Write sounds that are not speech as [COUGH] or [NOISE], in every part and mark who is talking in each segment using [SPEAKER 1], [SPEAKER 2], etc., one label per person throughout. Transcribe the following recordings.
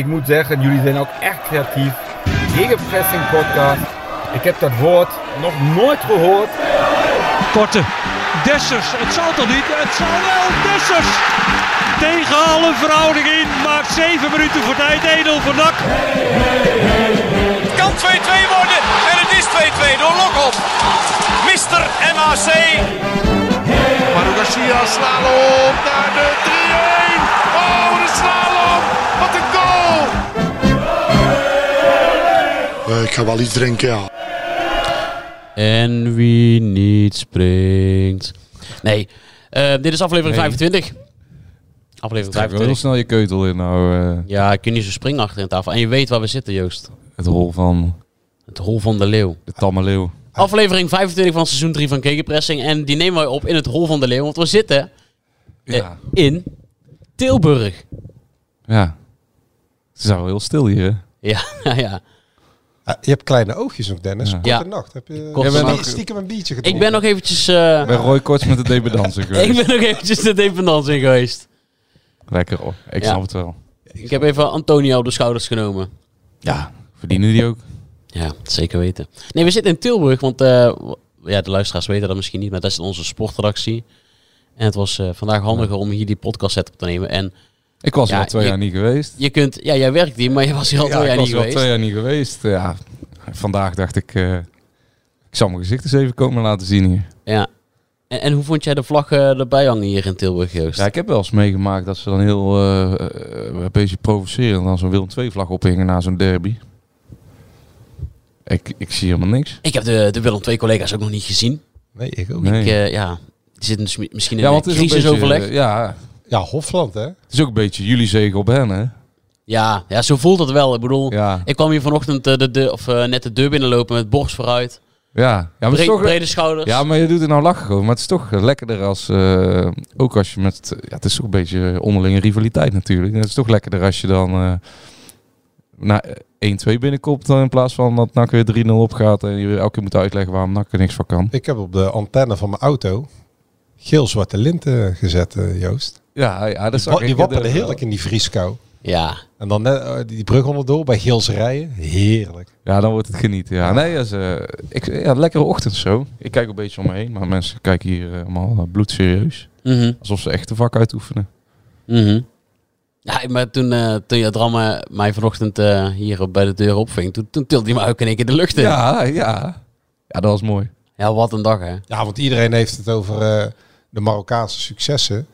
[SPEAKER 1] Ik moet zeggen, jullie zijn ook echt creatief. Gegenpressing podcast. Ik heb dat woord nog nooit gehoord.
[SPEAKER 2] Korte. Dessers. Het zal toch niet? Het zal wel. Dessers. Tegen alle verhouding in. Maakt 7 minuten voor tijd. Edel van Dak.
[SPEAKER 3] Het kan 2-2 worden. En het is 2-2 door Lokop. Mister MAC.
[SPEAKER 4] Maru Garcia slalom naar de 3-1. Oh, de slalom. Wat een goal.
[SPEAKER 5] Eh, ik ga wel iets drinken, ja.
[SPEAKER 6] En wie niet springt. Nee, eh, dit is aflevering 25. Aflevering
[SPEAKER 7] Trek wel heel
[SPEAKER 6] 25.
[SPEAKER 7] snel je keutel in nou. eh,
[SPEAKER 6] Ja, ik kun niet zo springen achter in tafel. En je weet waar we zitten, Joost.
[SPEAKER 7] het hol van
[SPEAKER 6] Het Hol van de Leeuw.
[SPEAKER 7] de tamme leeuw.
[SPEAKER 6] Aflevering 25 van seizoen 3 van Kekenpressing. En die nemen wij op in het Hol van de Leeuw. Want we zitten eh,
[SPEAKER 7] Ja.
[SPEAKER 6] in Tilburg.
[SPEAKER 7] ja. Het is al heel stil hier. hè?
[SPEAKER 6] Ja, [LAUGHS] ja, ja.
[SPEAKER 8] Ah, je hebt kleine oogjes nog, Dennis. Korte
[SPEAKER 6] Ja.
[SPEAKER 8] nacht. Heb je
[SPEAKER 6] Korte
[SPEAKER 8] stie-
[SPEAKER 6] nacht.
[SPEAKER 8] stiekem een biertje gedronken?
[SPEAKER 6] Ik ben nog eventjes... eh,
[SPEAKER 7] Ik ben Roy Korts met de debedansen
[SPEAKER 6] [LAUGHS] ik
[SPEAKER 7] geweest.
[SPEAKER 6] ben nog eventjes de dependance in geweest.
[SPEAKER 7] Lekker hoor. Ik
[SPEAKER 6] Ja.
[SPEAKER 7] snap het wel.
[SPEAKER 6] Ik heb even Antonio op de schouders genomen.
[SPEAKER 7] Ja. Verdienen die ook?
[SPEAKER 6] Ja, zeker weten. Nee, we zitten in Tilburg, want eh, w- ja, de luisteraars weten dat misschien niet, maar dat is onze sportredactie. En het was eh, vandaag handiger om hier die podcast set op te nemen. En
[SPEAKER 7] Ik was
[SPEAKER 6] Ja,
[SPEAKER 7] al twee
[SPEAKER 6] je-
[SPEAKER 7] jaar niet geweest.
[SPEAKER 6] je kunt, ja, jij werkt hier, maar je was hier al
[SPEAKER 7] ja,
[SPEAKER 6] twee
[SPEAKER 7] ik
[SPEAKER 6] jaar
[SPEAKER 7] was
[SPEAKER 6] niet
[SPEAKER 7] wel
[SPEAKER 6] geweest.
[SPEAKER 7] twee jaar niet geweest. Ja. Vandaag dacht ik, eh, ik zal mijn gezicht eens even komen laten zien hier.
[SPEAKER 6] Ja. En, en hoe vond jij de vlag eh, erbij hangen hier in Tilburg, Joost?
[SPEAKER 7] Ja, ik heb wel eens meegemaakt dat ze dan heel eh, eh, een beetje provoceren dan zo'n Willem II-vlag ophingen na zo'n derby. Ik, ik zie helemaal niks.
[SPEAKER 6] Ik heb de, de Willem twee collega's ook nog niet gezien.
[SPEAKER 8] Nee, ik ook.
[SPEAKER 7] Nee.
[SPEAKER 6] Ik, eh, ja, die zitten dus mi- misschien in
[SPEAKER 7] ja,
[SPEAKER 6] een
[SPEAKER 7] want het is een
[SPEAKER 6] crisisoverleg.
[SPEAKER 7] beetje, eh, ja,
[SPEAKER 8] Ja, Hofland, hè?
[SPEAKER 7] het is ook een beetje jullie zegen op hen, hè?
[SPEAKER 6] ja, ja, zo voelt het wel. Ik bedoel,
[SPEAKER 7] Ja,
[SPEAKER 6] ik kwam hier vanochtend eh, de, de, of, eh, net de deur binnenlopen met borst vooruit.
[SPEAKER 7] ja. ja, maar, het is
[SPEAKER 6] Bre-
[SPEAKER 7] toch, eh,
[SPEAKER 6] brede schouders.
[SPEAKER 7] ja maar je doet het nou lachen gewoon. Maar het is toch lekkerder als, eh, ook als je met, ja, het is toch een beetje onderlinge rivaliteit natuurlijk. En Het is toch lekkerder als je dan eh na 1-2 binnenkomt dan in plaats van dat NAC weer 3-0 opgaat en je elke keer moet uitleggen waarom NAC er niks van kan.
[SPEAKER 8] Ik heb op de antenne van mijn auto geel-zwarte linten gezet, eh, Joost.
[SPEAKER 7] Ja, ja, dat is
[SPEAKER 8] Wa- die wapperde heerlijk in die vrieskou.
[SPEAKER 6] ja.
[SPEAKER 8] En dan net, eh, die brug onderdoor bij Geelse Rijen. Heerlijk.
[SPEAKER 7] Ja, dan wordt het genieten. Ja, nee, dat is, eh, ik, ja, lekkere ochtend zo. Ik kijk een beetje om me heen, maar mensen kijken hier eh, allemaal eh, bloedserieus.
[SPEAKER 6] Mhm.
[SPEAKER 7] Alsof ze echt de vak uitoefenen.
[SPEAKER 6] Mhm. Ja, maar toen, eh toen Jadram mij vanochtend eh, hier op- bij de deur opving, toen, toen tilde hij me ook in één keer de lucht in. Ja,
[SPEAKER 7] Ja, ja. Ja, dat was mooi.
[SPEAKER 6] wat een dag hè.
[SPEAKER 8] Ja, want iedereen heeft het over eh, de Marokkaanse successen.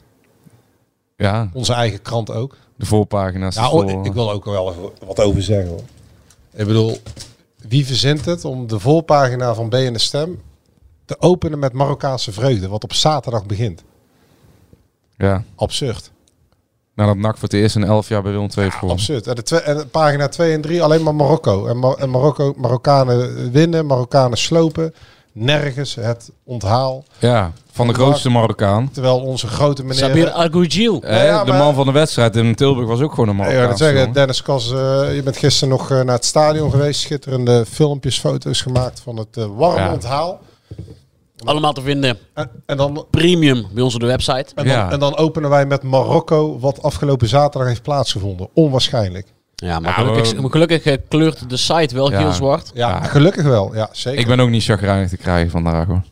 [SPEAKER 7] Ja,
[SPEAKER 8] Onze eigen krant ook.
[SPEAKER 7] de voorpagina's.
[SPEAKER 8] Ja,
[SPEAKER 7] Ja,
[SPEAKER 8] oh, ik- ik wil er ook wel even wat over zeggen. Hoor. Ik bedoel, wie verzint het om de volpagina van BNS Stem te openen met Marokkaanse vreugde, wat op zaterdag begint?
[SPEAKER 7] ja.
[SPEAKER 8] Absurd.
[SPEAKER 7] Nadat NAC voor het eerst in elf jaar bij Willem II heeft gewonnen.
[SPEAKER 8] Absurd. En, de twe- en pagina 2 en 3 alleen maar Marokko. En, Mar- en Marokko, Marokkanen winnen, Marokkanen slopen. Nergens het onthaal.
[SPEAKER 7] Ja, van de grootste Marokkaan.
[SPEAKER 8] Terwijl onze grote meneer...
[SPEAKER 6] Sabir Agoujil.
[SPEAKER 7] Eh,
[SPEAKER 8] ja,
[SPEAKER 7] de
[SPEAKER 8] maar-
[SPEAKER 7] man van de wedstrijd in Tilburg was ook gewoon een
[SPEAKER 8] Ja, dat
[SPEAKER 7] Marokkaan.
[SPEAKER 8] zeggen, Dennis Kas, eh, je bent gisteren nog eh, naar het stadion geweest. Schitterende filmpjes, foto's gemaakt van het eh, warme
[SPEAKER 7] Ja.
[SPEAKER 8] onthaal.
[SPEAKER 6] Allemaal te vinden.
[SPEAKER 8] En, en dan
[SPEAKER 6] Premium bij ons op de website.
[SPEAKER 8] En dan,
[SPEAKER 7] Ja.
[SPEAKER 8] en dan openen wij met Marokko, wat afgelopen zaterdag heeft plaatsgevonden. Onwaarschijnlijk.
[SPEAKER 6] Ja, maar
[SPEAKER 7] Ja,
[SPEAKER 6] gelukkig,
[SPEAKER 7] maar-
[SPEAKER 6] gelukkig eh, kleurt de site wel
[SPEAKER 7] Ja.
[SPEAKER 6] heel zwart.
[SPEAKER 8] Ja,
[SPEAKER 7] Ja.
[SPEAKER 8] gelukkig wel. Ja, zeker.
[SPEAKER 7] Ik ben ook niet chagrijnig te krijgen vandaag hoor.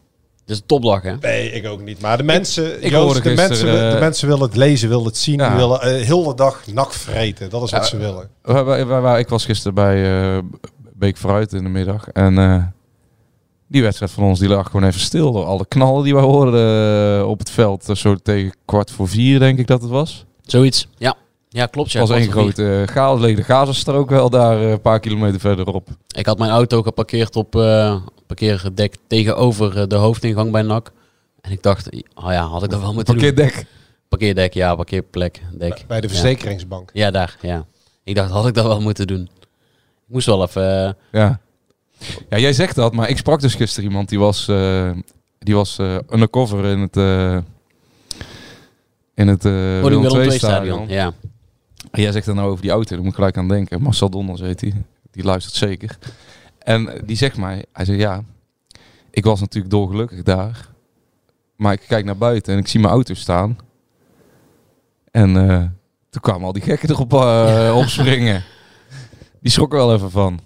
[SPEAKER 6] Dus een topdag hè.
[SPEAKER 8] Nee, ik ook niet. Maar de mensen,
[SPEAKER 7] ik
[SPEAKER 8] Joost,
[SPEAKER 7] hoorde
[SPEAKER 8] de,
[SPEAKER 7] gisteren,
[SPEAKER 8] mensen wil- de
[SPEAKER 7] eh,
[SPEAKER 8] mensen willen het lezen, willen het zien.
[SPEAKER 7] Ja.
[SPEAKER 8] die willen eh, heel de dag nak vreten. Dat is wat
[SPEAKER 7] Ja.
[SPEAKER 8] ze willen.
[SPEAKER 7] Waar- waar- waar- waar- ik was gisteren bij eh Beek Vooruit in de middag. En eh, die wedstrijd van ons die lag gewoon even stil. Door alle knallen die we hoorden eh, op het veld. eh, zo tegen kwart voor vier, denk ik dat het was.
[SPEAKER 6] Zoiets. Ja, ja klopt. Ja,
[SPEAKER 7] Het was één
[SPEAKER 6] kwart voor vier.
[SPEAKER 7] grote eh, chaos. Leek de Gazastrook wel daar eh, een paar kilometer verderop.
[SPEAKER 6] Ik had mijn auto geparkeerd op eh parkeergedek tegenover eh, de hoofdingang bij NAC. En ik dacht, oh ja, had ik dat wel moeten doen.
[SPEAKER 7] Parkeerdek.
[SPEAKER 6] Parkeerdek, ja, parkeerplek, dek.
[SPEAKER 8] Bij de
[SPEAKER 6] Ja.
[SPEAKER 8] verzekeringsbank.
[SPEAKER 6] Ja, daar. Ja. Ik dacht, had ik dat wel moeten doen. Ik moest wel even... eh,
[SPEAKER 7] Ja. ja, jij zegt dat, maar ik sprak dus gisteren iemand die was, eh, die was eh, undercover in het... eh in het eh Willem
[SPEAKER 6] Willem
[SPEAKER 7] II
[SPEAKER 6] II
[SPEAKER 7] stadion.
[SPEAKER 6] Ja.
[SPEAKER 7] En Jij zegt dan nou over die auto, daar moet ik gelijk aan denken. Marcel Donders heet die, die luistert zeker. En eh, die zegt mij, hij zegt ja, ik was natuurlijk dolgelukkig daar. Maar ik kijk naar buiten en ik zie mijn auto staan. En eh, Toen kwamen al die gekken erop eh, opspringen. Die schrok er wel even van.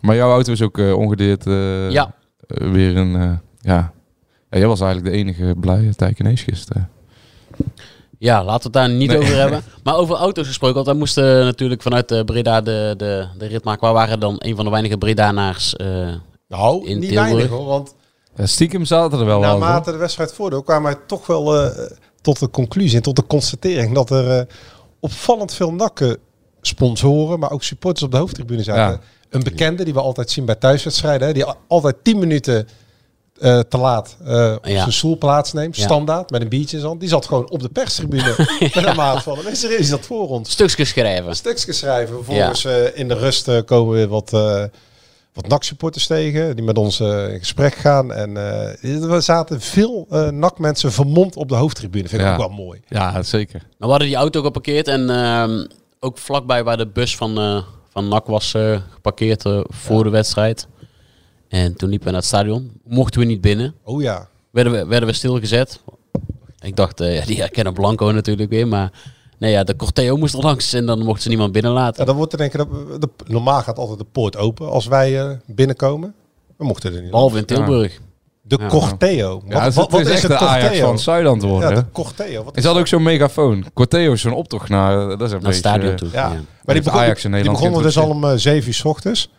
[SPEAKER 7] Maar jouw auto is ook eh, ongedeerd eh,
[SPEAKER 6] Ja,
[SPEAKER 7] eh, weer een... eh, ja. ja, jij was eigenlijk de enige blije Tijkenees gisteren.
[SPEAKER 6] ja, laten we het daar niet
[SPEAKER 7] Nee.
[SPEAKER 6] over
[SPEAKER 7] [LAUGHS]
[SPEAKER 6] hebben. Maar over auto's gesproken, want wij moesten natuurlijk vanuit eh, Breda de, de, de rit maken. Wij waren dan een van de weinige Bredanaars. eh
[SPEAKER 8] Nou,
[SPEAKER 6] In
[SPEAKER 8] niet
[SPEAKER 6] Tilburg.
[SPEAKER 8] weinig hoor. Want
[SPEAKER 7] Ja, stiekem zaten er wel wat, hoor.
[SPEAKER 8] naarmate de wedstrijd voordeel kwamen wij toch wel eh, tot de conclusie en tot de constatering dat er eh, opvallend veel nakken sponsoren, maar ook supporters op de hoofdtribune
[SPEAKER 7] Ja.
[SPEAKER 8] zaten. Een bekende die we altijd zien bij thuiswedstrijden, hè, die al- altijd 10 minuten eh, te laat eh, op
[SPEAKER 6] Ja.
[SPEAKER 8] zijn stoel plaatsneemt,
[SPEAKER 6] Ja.
[SPEAKER 8] standaard, met een biertje in zijn hand. Die zat gewoon op de perstribune met een maat van. En er is dat voor ons
[SPEAKER 6] stukjes schrijven.
[SPEAKER 8] stukjes schrijven. Vervolgens eh, in de rust eh, komen weer wat, eh wat NAC-supporters tegen, die met ons eh, in gesprek gaan. En eh, er zaten veel eh NAC-mensen vermomd op de hoofdtribune. Vind ik
[SPEAKER 7] Ja.
[SPEAKER 8] ook wel mooi.
[SPEAKER 7] Ja, zeker.
[SPEAKER 6] Maar Nou, we hadden die auto geparkeerd en ehm, ook vlakbij waar de bus van, eh, van NAC was eh, geparkeerd eh, voor de wedstrijd. En toen liepen we naar het stadion. Mochten we niet binnen.
[SPEAKER 8] Oh ja.
[SPEAKER 6] Werden we, werden we stilgezet. Ik dacht, eh, ja, die herkennen Blanco natuurlijk weer. Maar nee, ja, de Corteo moest er langs en dan mochten ze niemand
[SPEAKER 8] ja
[SPEAKER 6] binnenlaten.
[SPEAKER 8] dan wordt er denk ik, dat, de, normaal gaat altijd de poort open als wij eh, binnenkomen. We mochten er niet.
[SPEAKER 6] Behalve in Tilburg.
[SPEAKER 8] De
[SPEAKER 6] Ja.
[SPEAKER 8] Corteo. Wat,
[SPEAKER 7] Ja, het,
[SPEAKER 8] wat, wat
[SPEAKER 7] is,
[SPEAKER 8] is,
[SPEAKER 7] echt
[SPEAKER 8] het
[SPEAKER 7] de Ajax
[SPEAKER 8] Corteo?
[SPEAKER 7] van Zuidland worden.
[SPEAKER 8] ja,
[SPEAKER 7] hè?
[SPEAKER 8] de Corteo. Wat
[SPEAKER 7] Is
[SPEAKER 8] is
[SPEAKER 7] dat ook zo'n megafoon? Corteo is zo'n optocht naar, dat is een beetje,
[SPEAKER 6] Naar het stadion
[SPEAKER 7] eh,
[SPEAKER 6] toe.
[SPEAKER 8] Ja.
[SPEAKER 6] Ja.
[SPEAKER 8] Maar die,
[SPEAKER 7] Heeft
[SPEAKER 8] begon,
[SPEAKER 7] Ajax in
[SPEAKER 8] die
[SPEAKER 7] Nederland
[SPEAKER 8] begonnen dus al
[SPEAKER 7] geïntroduceerd.
[SPEAKER 8] om eh, 7 uur s ochtends.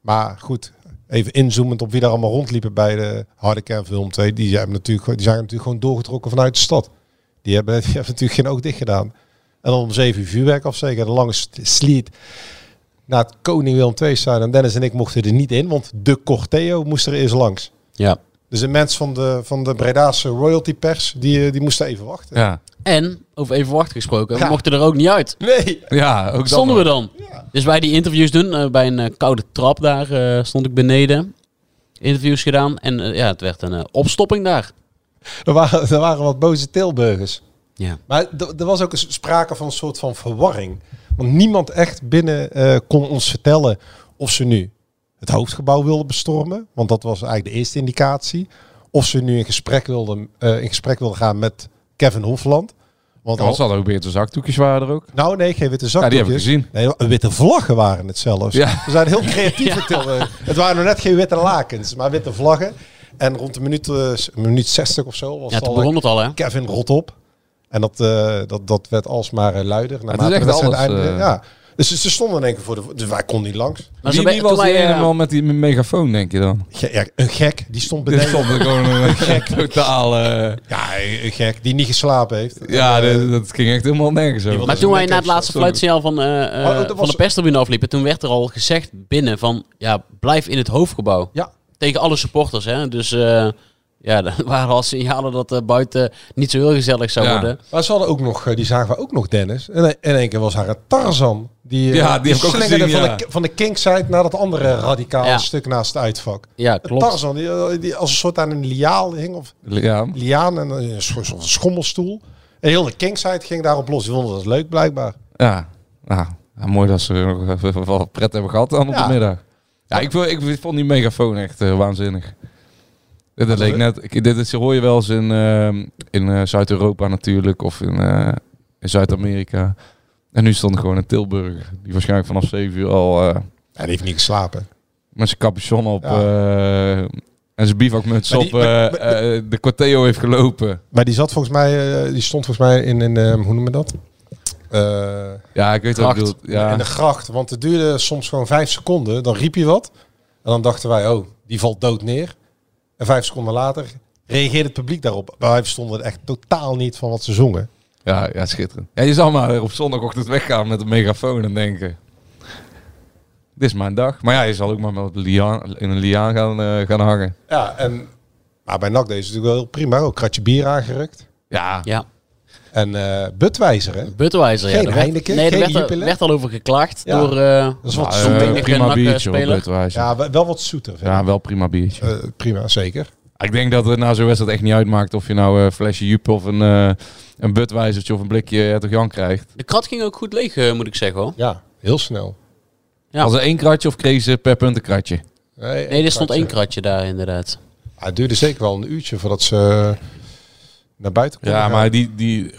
[SPEAKER 8] Maar goed, even inzoomend op wie daar allemaal rondliepen bij de Harde Kern Film 2. Die zijn natuurlijk, gewoon- die zijn natuurlijk gewoon doorgetrokken vanuit de stad. Die hebben, [LAUGHS] die hebben natuurlijk geen oog dicht gedaan. En dan om 7 uur vuurwerk afzeker. De lange st- sliet naar het Koning Willem 2 staan. En Dennis en ik mochten er niet in, want de Corteo moest er eerst langs.
[SPEAKER 6] Ja.
[SPEAKER 8] Dus de mensen van de, van de Breda's royalty pers, die, eh, die moesten even wachten.
[SPEAKER 7] Ja.
[SPEAKER 6] En, over even wachten gesproken, we
[SPEAKER 8] Ja.
[SPEAKER 6] mochten er ook niet uit.
[SPEAKER 8] Nee,
[SPEAKER 7] ja, ook
[SPEAKER 6] stonden we
[SPEAKER 7] dat.
[SPEAKER 6] dan. Dus wij die interviews doen, eh, bij een eh, koude trap daar eh, stond ik beneden. Interviews gedaan en eh, ja, het werd een eh, opstopping daar.
[SPEAKER 8] er waren, er waren wat boze Tilburgers.
[SPEAKER 6] Ja.
[SPEAKER 8] Maar d- er was ook een s- sprake van een soort van verwarring. Want niemand echt binnen eh, kon ons vertellen of ze nu het hoofdgebouw wilden bestormen. Want dat was eigenlijk de eerste indicatie. Of ze nu in gesprek wilden, eh, in gesprek wilden gaan met Kevin Hofland. Want
[SPEAKER 7] Ja,
[SPEAKER 8] al-
[SPEAKER 7] Anders hadden ook witte zakdoekjes waren er ook.
[SPEAKER 8] nou nee, geen witte
[SPEAKER 7] Ja, die heb ik
[SPEAKER 8] zakdoekjes.
[SPEAKER 7] gezien.
[SPEAKER 8] nee, witte vlaggen waren het zelfs.
[SPEAKER 7] [LAUGHS] Ja.
[SPEAKER 8] We zijn heel creatief in Tilburg. Het waren nog net geen witte lakens, maar witte vlaggen. En rond de minuut, eh, s- minuut 60 of zo was
[SPEAKER 6] Ja,
[SPEAKER 8] het
[SPEAKER 6] toen
[SPEAKER 8] al
[SPEAKER 6] begon het al hè.
[SPEAKER 8] Kevin rot op. En dat, eh, dat, dat werd alsmaar eh, luider. naarmate
[SPEAKER 7] echt
[SPEAKER 8] de wedstrijd
[SPEAKER 7] alles,
[SPEAKER 8] eindigde.
[SPEAKER 7] eh.
[SPEAKER 8] ja. Dus ze- ze stonden in één keer voor de... vo- Dus wij konden niet langs.
[SPEAKER 6] Maar
[SPEAKER 7] wie
[SPEAKER 6] zo ben-
[SPEAKER 7] wie
[SPEAKER 6] toen
[SPEAKER 7] was die
[SPEAKER 6] wij, eh,
[SPEAKER 7] ene man met die megafoon, denk je dan?
[SPEAKER 8] Ge- ja, een gek, die stond
[SPEAKER 7] Dit
[SPEAKER 8] beneden.
[SPEAKER 7] stond er gewoon een gek totaal... eh,
[SPEAKER 8] Ja, een gek, die niet geslapen heeft.
[SPEAKER 7] ja,
[SPEAKER 8] En, eh,
[SPEAKER 7] dit- dat ging echt helemaal nergens over.
[SPEAKER 8] was
[SPEAKER 6] Maar toen wij
[SPEAKER 8] een
[SPEAKER 6] na het
[SPEAKER 8] lekker-
[SPEAKER 6] laatste
[SPEAKER 7] sorry.
[SPEAKER 6] fluitsignaal van, eh, eh,
[SPEAKER 8] Oh, dat was-
[SPEAKER 6] van de perstribune afliepen, toen werd er al gezegd binnen van, ja, blijf in het hoofdgebouw.
[SPEAKER 8] Ja.
[SPEAKER 6] Tegen alle supporters hè, dus eh, ja, [LAUGHS] er waren al signalen dat eh, buiten niet zo heel gezellig zou
[SPEAKER 7] Ja.
[SPEAKER 6] worden.
[SPEAKER 8] Maar ze hadden ook nog, eh, die zagen we ook nog Dennis. En in één keer was haar een Tarzan. Die, eh,
[SPEAKER 7] Ja, die heb ik ook
[SPEAKER 8] slingerde
[SPEAKER 7] gezien,
[SPEAKER 8] van,
[SPEAKER 7] ja.
[SPEAKER 8] de, van de kingside naar dat andere radicaal
[SPEAKER 6] Ja.
[SPEAKER 8] stuk naast het uitvak.
[SPEAKER 6] Ja,
[SPEAKER 8] Een
[SPEAKER 6] klopt.
[SPEAKER 8] Tarzan, die, eh, die als een soort aan een liaal hing. Of
[SPEAKER 7] Ja,
[SPEAKER 8] liaan en eh, een soort soort schommelstoel. En heel de kingside ging daarop los. Die vonden dat leuk blijkbaar.
[SPEAKER 7] ja. ja. Ja, mooi dat ze nog even wat pret hebben gehad dan op
[SPEAKER 8] Ja.
[SPEAKER 7] de middag. Ja, ik, vo- ik vond die megafoon echt eh, waanzinnig. Dit, dat leek net, ik- dit is, hoor je wel eens in, ehm, in eh, Zuid-Europa natuurlijk of in, eh, in Zuid-Amerika. En nu stond er gewoon in Tilburg, die waarschijnlijk vanaf 7 uur al eh,
[SPEAKER 8] En die heeft niet geslapen.
[SPEAKER 7] met zijn capuchon op
[SPEAKER 8] Ja.
[SPEAKER 7] eh, en zijn bivakmuts
[SPEAKER 8] Maar
[SPEAKER 7] op
[SPEAKER 8] die- maar-
[SPEAKER 7] eh, eh, de Corteo heeft gelopen.
[SPEAKER 8] Maar die zat volgens mij, eh, die stond volgens mij in, in eh, hoe noemen we dat? Eh,
[SPEAKER 7] Ja, ik weet wat je
[SPEAKER 6] Kracht.
[SPEAKER 7] bedoelt. Ja.
[SPEAKER 8] In de gracht. Want het duurde soms gewoon vijf seconden. Dan riep je wat. En dan dachten wij, oh, die valt dood neer. En vijf seconden later reageerde het publiek daarop. Maar wij verstonden echt totaal niet van wat ze zongen.
[SPEAKER 7] Ja, ja, schitterend. Ja, je zal maar op zondagochtend weggaan met een megafoon en denken... Dit is mijn dag. Maar ja, je zal ook maar met liaan, in een liaan gaan, eh, gaan hangen.
[SPEAKER 8] Ja, en... Maar bij NAC deed ze natuurlijk wel heel prima. Ook kratje bier aangerukt.
[SPEAKER 7] Ja,
[SPEAKER 6] Ja.
[SPEAKER 8] En eh butwijzer, hè?
[SPEAKER 6] Budweiser, ja.
[SPEAKER 8] Geen
[SPEAKER 6] daar werd-
[SPEAKER 8] Heineken,
[SPEAKER 6] nee, daar
[SPEAKER 8] geen
[SPEAKER 6] werd, er-
[SPEAKER 8] Jupiler.
[SPEAKER 6] werd al over geklaagd
[SPEAKER 8] Ja.
[SPEAKER 6] door... eh,
[SPEAKER 8] Dat is wat
[SPEAKER 7] eh,
[SPEAKER 8] zoeter.
[SPEAKER 6] ik-
[SPEAKER 7] prima
[SPEAKER 6] ik-
[SPEAKER 7] biertje op
[SPEAKER 6] speler.
[SPEAKER 7] Budweiser. Ja.
[SPEAKER 8] ja, wel wel wat zoeter. vind ik.
[SPEAKER 7] wel prima biertje.
[SPEAKER 8] Eh, prima, zeker.
[SPEAKER 7] ik denk dat het na zo'n wedstrijd echt niet uitmaakt of je nou een flesje Jup of een, eh een Budweisertje of een blikje Hertog Jan krijgt.
[SPEAKER 6] De krat ging ook goed leeg, eh, moet ik zeggen hoor.
[SPEAKER 8] Ja, heel snel.
[SPEAKER 6] Ja.
[SPEAKER 7] Was er één kratje of kreeg ze per punt een kratje?
[SPEAKER 6] Nee, er stond één
[SPEAKER 8] eh,
[SPEAKER 6] kratje daar inderdaad.
[SPEAKER 8] Ja, het duurde zeker wel een uurtje voordat ze eh, naar buiten
[SPEAKER 7] Ja,
[SPEAKER 8] konden gaan.
[SPEAKER 7] maar die, die,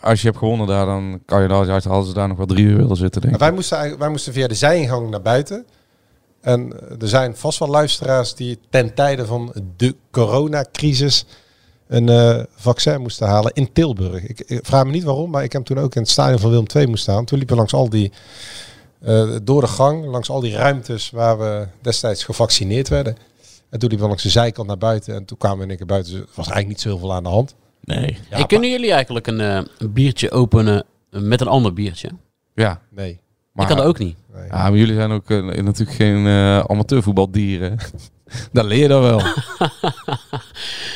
[SPEAKER 7] als je hebt gewonnen daar, dan kan je daar uit halen ze daar nog wel drie uur willen zitten, denk
[SPEAKER 8] Maar
[SPEAKER 7] ik.
[SPEAKER 8] wij, moesten, eigenlijk- wij moesten via de zijingang naar buiten. En eh, er zijn vast wel luisteraars die ten tijde van de coronacrisis een eh, vaccin moesten halen in Tilburg. Ik, ik vraag me niet waarom, maar ik heb toen ook in het stadion van Willem II moest staan. Toen liepen we langs al die, eh, door de gang, langs al die ruimtes waar we destijds gevaccineerd werden. En toen liepen we langs de zijkant naar buiten en toen kwamen we in één keer buiten. Dus Er was eigenlijk niet zo heel veel aan de hand.
[SPEAKER 6] Nee. hey, kunnen jullie eigenlijk een, eh, een biertje openen eh, met een ander biertje?
[SPEAKER 7] Ja,
[SPEAKER 8] Nee.
[SPEAKER 7] maar,
[SPEAKER 6] ik kan dat ook niet.
[SPEAKER 8] nee.
[SPEAKER 7] ja, maar jullie zijn ook eh, natuurlijk geen eh amateurvoetbaldieren. daar leer je dan wel.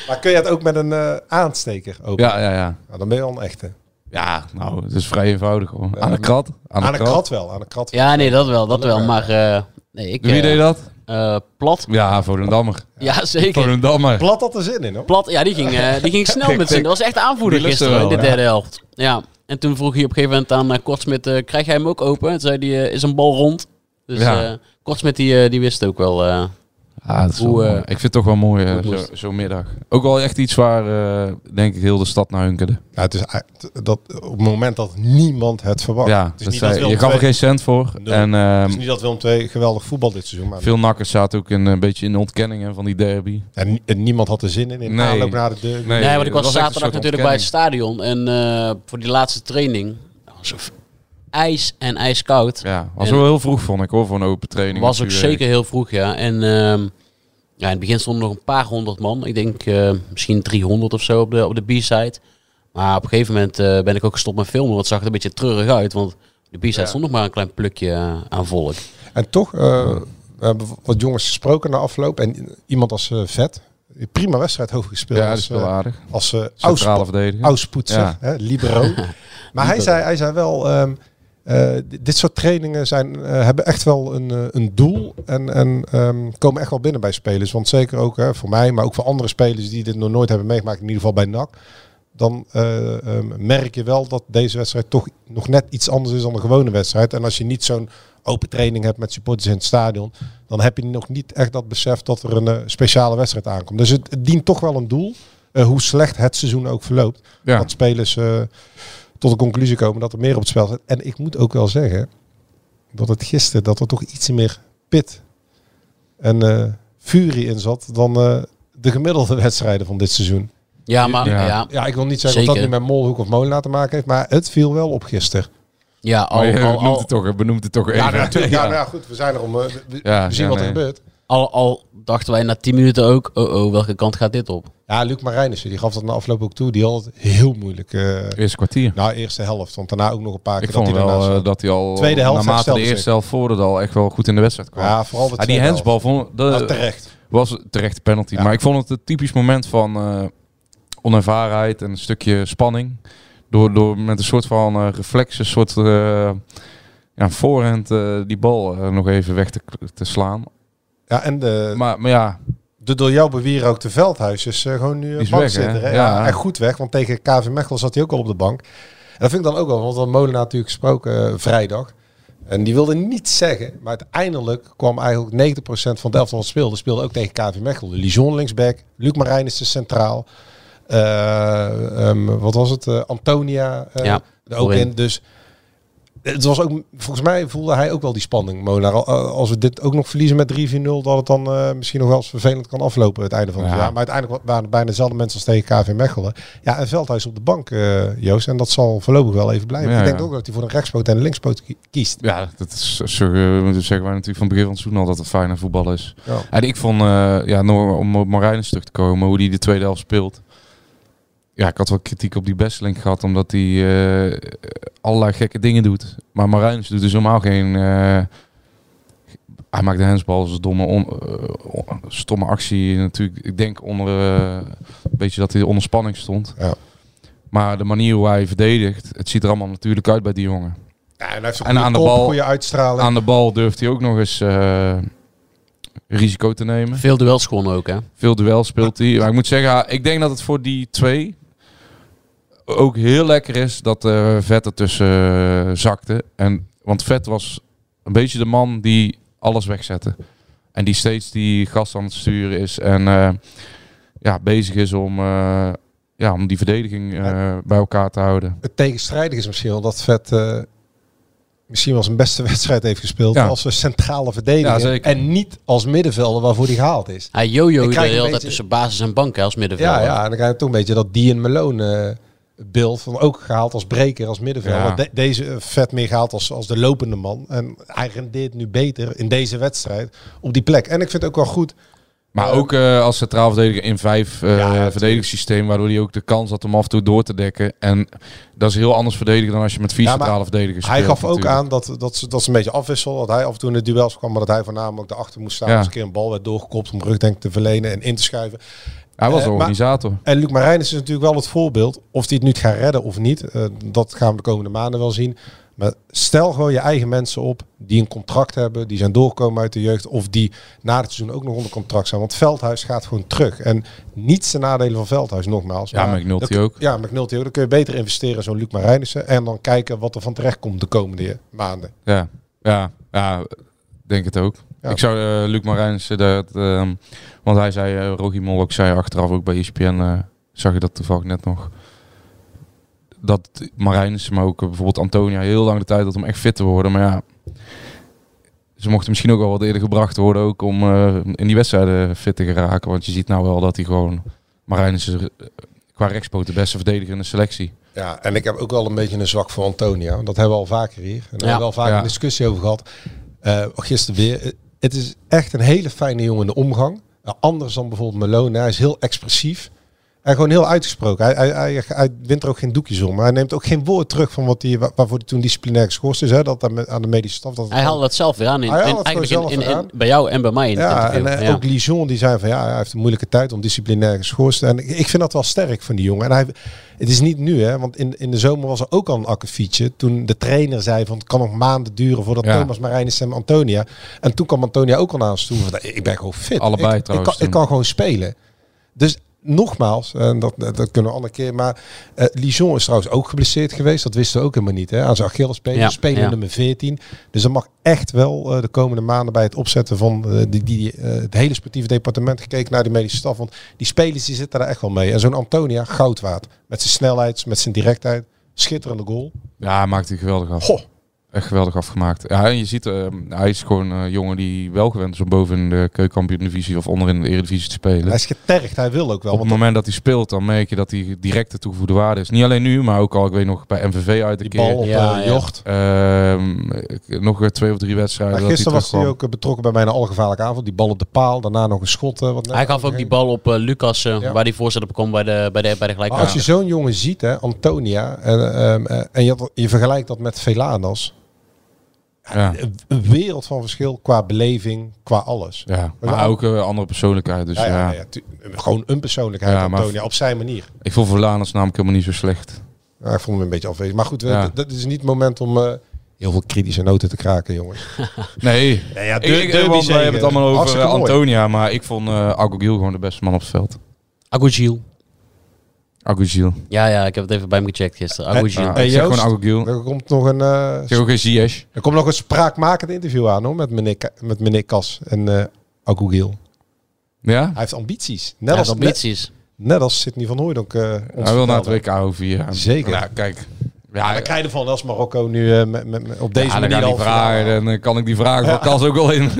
[SPEAKER 8] Maar kun je het ook met een eh, aansteker open?
[SPEAKER 7] ja, ja, ja.
[SPEAKER 8] Nou, dan ben je al een echte.
[SPEAKER 7] Ja, nou, het is vrij eenvoudig hoor. aan de krat. Aan,
[SPEAKER 8] Aan de krat wel, aan de krat wel.
[SPEAKER 6] Ja, nee, dat wel, dat wel. Maar eh, nee, ik...
[SPEAKER 7] Wie
[SPEAKER 6] eh,
[SPEAKER 7] deed dat?
[SPEAKER 6] eh, plat.
[SPEAKER 7] Ja, Volendammer.
[SPEAKER 6] Ja, zeker.
[SPEAKER 7] Volendammer.
[SPEAKER 8] Plat had er zin in, hoor.
[SPEAKER 6] Plat, ja, die ging, eh, die [LAUGHS] ging snel
[SPEAKER 7] Ik
[SPEAKER 6] met zin.
[SPEAKER 7] denk-
[SPEAKER 6] Dat was echt aanvoerder
[SPEAKER 7] die lust er
[SPEAKER 6] gisteren in de
[SPEAKER 7] wel,
[SPEAKER 6] derde helft. Ja. En toen vroeg hij op een gegeven moment aan eh, Kortsmit, eh, krijg jij hem ook open? En toen zei hij, eh, is een bal rond? Dus
[SPEAKER 7] Ja.
[SPEAKER 6] eh Kortsmit, die, eh, die wist ook wel. eh,
[SPEAKER 7] Ja, dat is wel
[SPEAKER 6] Hoe, eh,
[SPEAKER 7] mooi. ik vind het toch wel mooi eh,
[SPEAKER 6] hoe
[SPEAKER 7] zo-
[SPEAKER 6] moest
[SPEAKER 7] zo'n middag. Ook wel echt iets waar, eh, denk ik, heel de stad naar hunkerde.
[SPEAKER 8] Ja, Nou, het is uit- dat, op het moment dat niemand het verwacht.
[SPEAKER 7] ja,
[SPEAKER 8] het is
[SPEAKER 7] dat
[SPEAKER 8] niet
[SPEAKER 7] zei-
[SPEAKER 8] dat Willem
[SPEAKER 7] je gaf er
[SPEAKER 8] II-
[SPEAKER 7] geen cent voor.
[SPEAKER 8] Nul.
[SPEAKER 7] En ehm,
[SPEAKER 8] het is niet dat Willem II geweldig voetbal dit seizoen maar
[SPEAKER 7] veel nakkers zaten ook een, een beetje in de ontkenning hè, van die derby.
[SPEAKER 8] en, ni- en niemand had er zin in in
[SPEAKER 7] Nee.
[SPEAKER 8] aanloop naar de deur.
[SPEAKER 6] Nee, want ik was,
[SPEAKER 7] dat echt een
[SPEAKER 6] zaterdag
[SPEAKER 7] soort
[SPEAKER 6] natuurlijk bij het stadion. En eh, voor die laatste training was het ijs en ijskoud.
[SPEAKER 7] ontkenning. Ja, was
[SPEAKER 6] En-
[SPEAKER 7] wel heel vroeg, vond ik hoor, voor een open training.
[SPEAKER 6] was ook
[SPEAKER 7] natuurlijk.
[SPEAKER 6] zeker heel vroeg, ja. En ehm, ja, in het begin stonden nog een paar honderd man. Ik denk eh, misschien 300 of zo op de, op de B-side. Maar op een gegeven moment eh, ben ik ook gestopt met filmen. Want het zag er een beetje treurig uit. Want de B-side stond nog maar een klein plukje eh, aan volk.
[SPEAKER 8] En toch, eh, we hebben wat jongens gesproken na afloop. En iemand als eh, Vet, prima wedstrijd hoog gespeeld.
[SPEAKER 7] Ja, dat
[SPEAKER 8] als
[SPEAKER 7] is wel
[SPEAKER 8] eh,
[SPEAKER 7] aardig.
[SPEAKER 8] als eh,
[SPEAKER 7] Centrale
[SPEAKER 8] Auspo-
[SPEAKER 7] verdediger.
[SPEAKER 8] Auspoetser,
[SPEAKER 7] Ja.
[SPEAKER 8] hè,
[SPEAKER 7] [LAUGHS]
[SPEAKER 8] libero. maar hij zei, hij zei wel, ehm, eh, di- dit soort trainingen zijn, eh, hebben echt wel een, eh, een doel en, en ehm, komen echt wel binnen bij spelers. Want zeker ook hè, voor mij, maar ook voor andere spelers die dit nog nooit hebben meegemaakt, in ieder geval bij NAC. Dan eh, ehm, merk je wel dat deze wedstrijd toch nog net iets anders is dan een gewone wedstrijd. En als je niet zo'n open training hebt met supporters in het stadion, dan heb je nog niet echt dat besef dat er een eh, speciale wedstrijd aankomt. Dus het, het dient toch wel een doel, eh, hoe slecht het seizoen ook verloopt.
[SPEAKER 7] Ja.
[SPEAKER 8] Dat spelers eh, tot de conclusie komen dat er meer op het spel zit. En ik moet ook wel zeggen dat het gisteren dat er toch iets meer pit en eh, furie in zat dan eh, de gemiddelde [LAUGHS] wedstrijden van dit seizoen.
[SPEAKER 6] Ja, maar ja,
[SPEAKER 7] Ja.
[SPEAKER 6] ja,
[SPEAKER 8] Ja, ik wil niet zeggen dat dat
[SPEAKER 6] Zeker.
[SPEAKER 8] nu met Molhoek of Molenaar te maken heeft, maar het viel wel op gisteren.
[SPEAKER 6] al,
[SPEAKER 7] Maar je
[SPEAKER 6] al,
[SPEAKER 7] benoemt
[SPEAKER 6] al,
[SPEAKER 7] het toch, benoemt het toch
[SPEAKER 8] Ja,
[SPEAKER 7] even.
[SPEAKER 8] natuurlijk. Ja,
[SPEAKER 7] Ja.
[SPEAKER 8] nou ja, goed, we zijn er om. eh, we- we,
[SPEAKER 7] Ja,
[SPEAKER 8] we zien
[SPEAKER 7] ja,
[SPEAKER 8] wat er
[SPEAKER 7] nee.
[SPEAKER 8] gebeurt.
[SPEAKER 6] al, al dachten wij na 10 minuten ook, oh oh, welke kant gaat dit op?
[SPEAKER 8] Ja, Luc Marijnissen, die gaf dat na afloop ook toe. Die had het heel moeilijk. eh
[SPEAKER 7] Eerste kwartier.
[SPEAKER 8] nou, eerste helft, want daarna ook nog een paar keer
[SPEAKER 7] Ik vond
[SPEAKER 8] hij
[SPEAKER 7] wel
[SPEAKER 8] ernaast
[SPEAKER 7] eh,
[SPEAKER 8] zat.
[SPEAKER 7] dat hij al
[SPEAKER 8] Tweede helft
[SPEAKER 7] naarmate de
[SPEAKER 8] herstelde
[SPEAKER 7] eerste
[SPEAKER 8] zich.
[SPEAKER 7] helft voordeel al echt wel goed in de wedstrijd kwam.
[SPEAKER 8] Ja, vooral de
[SPEAKER 7] Ah, die
[SPEAKER 8] tweede
[SPEAKER 7] handsbal eh, vond, de,
[SPEAKER 8] helft. Nou, terecht.
[SPEAKER 7] was terecht penalty.
[SPEAKER 8] Ja.
[SPEAKER 7] Maar ik vond het een typisch moment van eh, onervarenheid en een stukje spanning. Door, door met een soort van eh reflex, een soort eh, ja, voorhand eh, die bal eh, nog even weg te, te slaan.
[SPEAKER 8] Ja, en de,
[SPEAKER 7] Maar, maar ja,
[SPEAKER 8] de door jou bewierookte Veldhuis is eh, gewoon nu
[SPEAKER 7] Die
[SPEAKER 8] een
[SPEAKER 7] is
[SPEAKER 8] bank
[SPEAKER 7] weg, hè?
[SPEAKER 8] zitten. hè?
[SPEAKER 7] Ja.
[SPEAKER 8] en goed weg, want tegen KV Mechelen zat hij ook al op de bank. En dat vind ik dan ook wel, want we hadden Molenaar natuurlijk gesproken eh, vrijdag. En die wilde niets zeggen, maar uiteindelijk kwam eigenlijk 90% van de elftal wat speelde. Speelde ook tegen KV Mechelen. Lijon linksback, Luc Marijnissen centraal. Eh, ehm, wat was het? Eh, Antonia eh,
[SPEAKER 6] Ja,
[SPEAKER 8] er ook
[SPEAKER 6] voorin.
[SPEAKER 8] in. Dus het was ook, volgens mij voelde hij ook wel die spanning, Molenaar. Al- al- Als we dit ook nog verliezen met 3-4-0, dat het dan eh, misschien nog wel eens vervelend kan aflopen het einde van het
[SPEAKER 7] Ja.
[SPEAKER 8] jaar. Maar uiteindelijk waren het bijna dezelfde mensen als tegen KV Mechelen. Ja, en Veldhuis op de bank, eh, Joost. En dat zal voorlopig wel even blijven.
[SPEAKER 7] Ja,
[SPEAKER 8] Ik denk
[SPEAKER 7] ja.
[SPEAKER 8] ook dat hij voor een rechtspoot en een linkspoot ki- kiest.
[SPEAKER 7] ja, dat is, zo, eh, dat zeggen wij natuurlijk van het begin van het seizoen al dat het fijn voetbal is.
[SPEAKER 8] Ja.
[SPEAKER 7] En ik vond, eh, ja, nog om op Marijnus terug te komen, hoe die de tweede helft speelt. Ja, ik had wel kritiek op die Besseling gehad, omdat hij eh, allerlei gekke dingen doet. Maar Marijnus doet dus helemaal geen... eh, hij maakt de handsbal als een domme, on- eh, on- stomme actie. Natuurlijk, ik denk onder, eh, een beetje dat hij onder spanning stond.
[SPEAKER 8] Ja.
[SPEAKER 7] Maar de manier hoe hij verdedigt, het ziet er allemaal natuurlijk uit bij die jongen.
[SPEAKER 8] Ja, en hij heeft een
[SPEAKER 7] En
[SPEAKER 8] goede
[SPEAKER 7] aan de
[SPEAKER 8] kop,
[SPEAKER 7] bal-
[SPEAKER 8] goede uitstraling.
[SPEAKER 7] Aan de bal durft hij ook nog eens eh, risico te nemen.
[SPEAKER 6] Veel duels gewonnen ook, hè?
[SPEAKER 7] Veel duel speelt hij. Maar ik moet zeggen, ah, ik denk dat het voor die twee ook heel lekker is dat eh Vet ertussen eh, zakte. En, want Vet was een beetje de man die alles wegzette. En die steeds die gast aan het sturen is. En eh, ja, bezig is om eh, ja, om die verdediging eh, bij elkaar te houden.
[SPEAKER 8] Het tegenstrijdige is misschien wel dat Vet eh, misschien wel zijn beste [LAUGHS] wedstrijd heeft gespeeld
[SPEAKER 7] Ja.
[SPEAKER 8] als een centrale verdediger.
[SPEAKER 7] Ja, zeker.
[SPEAKER 8] En niet als middenvelder waarvoor hij gehaald is.
[SPEAKER 6] Hij jojo
[SPEAKER 8] Ik
[SPEAKER 6] de
[SPEAKER 8] krijg
[SPEAKER 6] hele
[SPEAKER 8] een
[SPEAKER 6] tijd
[SPEAKER 8] beetje-
[SPEAKER 6] tussen basis en bank hè, als
[SPEAKER 8] Ja,
[SPEAKER 6] middenvelder.
[SPEAKER 8] ja, en dan krijg je toch een beetje dat Dean Malone eh beeld van ook gehaald als breker, als middenvelder.
[SPEAKER 7] Ja.
[SPEAKER 8] De- deze eh, vet meer gehaald als, als de lopende man. En hij rendeert nu beter in deze wedstrijd op die plek. En ik vind het ook wel goed.
[SPEAKER 7] Maar
[SPEAKER 8] Eh,
[SPEAKER 7] ook eh, als centraal verdediger in vijf eh, verdedigingssysteem, waardoor hij ook de kans had om af en toe door te dekken. En dat is heel anders verdedigen dan als je met vier
[SPEAKER 8] Ja, maar
[SPEAKER 7] centrale verdedigers
[SPEAKER 8] Hij
[SPEAKER 7] speelt
[SPEAKER 8] gaf ook
[SPEAKER 7] natuurlijk.
[SPEAKER 8] aan dat, dat, ze, dat ze een beetje afwissel. Dat hij af en toe in de duels kwam, maar dat hij voornamelijk erachter moest staan.
[SPEAKER 7] Ja.
[SPEAKER 8] Als een keer een bal werd doorgekopt om rugdenk te verlenen en in te schuiven.
[SPEAKER 7] Hij was
[SPEAKER 8] eh,
[SPEAKER 7] de
[SPEAKER 8] maar-
[SPEAKER 7] organisator.
[SPEAKER 8] En Luc Marijnis is natuurlijk wel het voorbeeld. Of hij het nu gaat redden of niet, eh, dat gaan we de komende maanden wel zien. Maar stel gewoon je eigen mensen op die een contract hebben, die zijn doorgekomen uit de jeugd of die na het seizoen ook nog onder contract zijn. Want Veldhuis gaat gewoon terug. En niets ten nadelen van Veldhuis, nogmaals.
[SPEAKER 7] Ja,
[SPEAKER 8] Maar
[SPEAKER 7] McNulty
[SPEAKER 8] dat-
[SPEAKER 7] ook.
[SPEAKER 8] Ja, McNulty ook. Dan kun je beter investeren in zo'n Luc Marijnissen en dan kijken wat er van terecht komt de komende maanden.
[SPEAKER 7] Ja, ja, ja, denk het ook.
[SPEAKER 8] Ja.
[SPEAKER 7] Ik zou eh, Luc Marijns, eh, dat, ehm, want hij zei, eh Rogier Molok zei achteraf ook bij ESPN, eh, zag je dat toevallig net nog, dat Marijns, maar ook eh, bijvoorbeeld Antonia, heel lang de tijd had om echt fit te worden. Maar ja, ze mochten misschien ook al wat eerder gebracht worden ook om eh, in die wedstrijden fit te geraken. Want je ziet nou wel dat hij gewoon, Marijns is eh, qua rechtspoot de beste verdediger in de selectie.
[SPEAKER 8] Ja, en ik heb ook wel een beetje een zwak voor Antonia. Dat hebben we al vaker hier. En daar hebben we al vaker
[SPEAKER 7] Ja.
[SPEAKER 8] een discussie over gehad. Eh, gisteren weer. Eh, Het is echt een hele fijne jongen in de omgang. Eh, anders dan bijvoorbeeld Malone. Hij is heel expressief. En gewoon heel uitgesproken. Hij, hij, hij, hij wint er ook geen doekjes om. Maar hij neemt ook geen woord terug van wat hij, wa- waarvoor hij toen disciplinair geschorst is. Hè? Dat aan me- aan de medische staf. Dat het
[SPEAKER 6] Hij haalde dat zelf weer aan. In,
[SPEAKER 8] Hij haalde
[SPEAKER 6] in-
[SPEAKER 8] het
[SPEAKER 6] eigenlijk
[SPEAKER 8] gewoon
[SPEAKER 6] in-
[SPEAKER 8] zelf
[SPEAKER 6] in-
[SPEAKER 8] weer
[SPEAKER 6] in- bij jou en bij mij. In het
[SPEAKER 8] ja, en
[SPEAKER 6] interview.
[SPEAKER 8] eh,
[SPEAKER 6] Ja.
[SPEAKER 8] ook Lijon die zei van ja, hij heeft een moeilijke tijd om disciplinair geschorst. En ik, ik vind dat wel sterk van die jongen. En hij, het is niet nu, hè, want in, in de zomer was er ook al een akkefietje. Toen de trainer zei van het kan nog maanden duren voordat
[SPEAKER 7] Ja.
[SPEAKER 8] Thomas Marijnis en Antonia. En toen kwam Antonia ook al naar ons toe. Van, ik ben gewoon fit.
[SPEAKER 7] Allebei
[SPEAKER 8] ik, ik
[SPEAKER 7] trouwens
[SPEAKER 8] kan, ik
[SPEAKER 7] toen.
[SPEAKER 8] kan gewoon spelen. Dus nogmaals, en dat, dat kunnen we een andere keer. Maar eh Lijon is trouwens ook geblesseerd geweest. Dat wisten we ook helemaal niet. Hè? Aan zijn Achillespees.
[SPEAKER 6] Ja,
[SPEAKER 8] spelen
[SPEAKER 6] ja.
[SPEAKER 8] nummer 14. Dus dat mag echt wel eh, de komende maanden bij het opzetten van eh, die, die, eh, het hele sportieve departement gekeken naar de medische staf. Want die spelers die zitten daar echt wel mee. En zo'n Antonia, goud waard. Met zijn snelheid, met zijn directheid. Schitterende goal.
[SPEAKER 7] Ja, hij maakt hij geweldig af.
[SPEAKER 8] Goh.
[SPEAKER 7] Echt geweldig afgemaakt. Ja, en je ziet, eh, hij is gewoon een jongen die wel gewend is om boven in de keukenkampioen-divisie of onderin de eredivisie te spelen.
[SPEAKER 8] Hij is getergd, hij wil ook wel.
[SPEAKER 7] Op het
[SPEAKER 8] Want
[SPEAKER 7] moment dat hij speelt, dan merk je dat hij direct de toegevoegde waarde is. Niet alleen nu, maar ook al, ik weet nog, bij MVV uit een
[SPEAKER 8] die
[SPEAKER 7] keer.
[SPEAKER 8] bal op eh,
[SPEAKER 6] Ja, ja.
[SPEAKER 8] jocht.
[SPEAKER 7] Ehm, eh, nog weer twee of drie wedstrijden.
[SPEAKER 8] Maar
[SPEAKER 7] dat
[SPEAKER 8] gisteren was
[SPEAKER 7] terugkwam.
[SPEAKER 8] hij ook eh, betrokken bij mijn algevaarlijke avond. Die bal op de paal, daarna nog een schot. eh, wat net
[SPEAKER 6] Hij gaf ook die
[SPEAKER 8] overheen.
[SPEAKER 6] bal op eh, Lucas, eh,
[SPEAKER 8] Ja.
[SPEAKER 6] waar die voorzet op kwam bij de, bij de, bij de
[SPEAKER 8] Maar als je
[SPEAKER 6] gelijkmaker.
[SPEAKER 8] zo'n jongen ziet, hè, Antonia, en, ehm, eh, en je, had- je vergelijkt dat met Velanas,
[SPEAKER 7] Ja,
[SPEAKER 8] een een wereld van verschil qua beleving, qua alles. Nou
[SPEAKER 7] ja. maar ook een andere persoonlijkheid. Dus
[SPEAKER 8] Ja,
[SPEAKER 7] ja,
[SPEAKER 8] ja, ja, tu- gewoon een persoonlijkheid,
[SPEAKER 7] Ja, maar-
[SPEAKER 8] Antonia, op zijn manier.
[SPEAKER 7] Ik vond Verlaners namelijk helemaal niet zo slecht.
[SPEAKER 8] Ja, ik vond hem een beetje afwezig. Maar goed, we-
[SPEAKER 7] Ja.
[SPEAKER 8] d- dat is niet het moment om eh, heel veel kritische noten te kraken, jongens.
[SPEAKER 7] Nee,
[SPEAKER 8] Nee, ja,
[SPEAKER 7] ik, ik, want wij hebben het allemaal over eh,
[SPEAKER 8] Antonia.
[SPEAKER 7] Antonia, maar ik vond eh Agogil gewoon de beste man op het veld.
[SPEAKER 6] Agujil.
[SPEAKER 7] Agogil.
[SPEAKER 6] Ja, ja, ik heb het even bij hem gecheckt gisteren. Agujil.
[SPEAKER 7] Ja,
[SPEAKER 8] Hey,
[SPEAKER 7] Ah, ik zeg
[SPEAKER 8] Joost.
[SPEAKER 7] gewoon Agogil.
[SPEAKER 8] Er komt nog een, eh,
[SPEAKER 7] Ik zeg ook geen Ziyech.
[SPEAKER 8] er komt nog een spraakmakend interview aan hoor, met, meneer, Ka- met meneer Kas en eh Agugil.
[SPEAKER 7] Ja?
[SPEAKER 8] Hij heeft ambities. Net,
[SPEAKER 6] Hij
[SPEAKER 8] als,
[SPEAKER 6] heeft ambities.
[SPEAKER 8] Net, net als Sidney van Hooydonk. eh ons
[SPEAKER 7] Hij wil naar het
[SPEAKER 8] vertelde.
[SPEAKER 7] WK over hier.
[SPEAKER 8] Zeker.
[SPEAKER 7] Ja, kijk.
[SPEAKER 8] Ah, Ja,
[SPEAKER 7] Ja,
[SPEAKER 8] dan
[SPEAKER 7] ja,
[SPEAKER 8] krijg je ervan als Marokko nu eh, met, met, met- op deze
[SPEAKER 7] dan
[SPEAKER 8] manier
[SPEAKER 7] ga ik
[SPEAKER 8] al
[SPEAKER 7] die vragen.
[SPEAKER 8] verhaal.
[SPEAKER 7] En dan eh, kan ik die
[SPEAKER 6] [LAUGHS]
[SPEAKER 7] vragen van Kas ook wel in.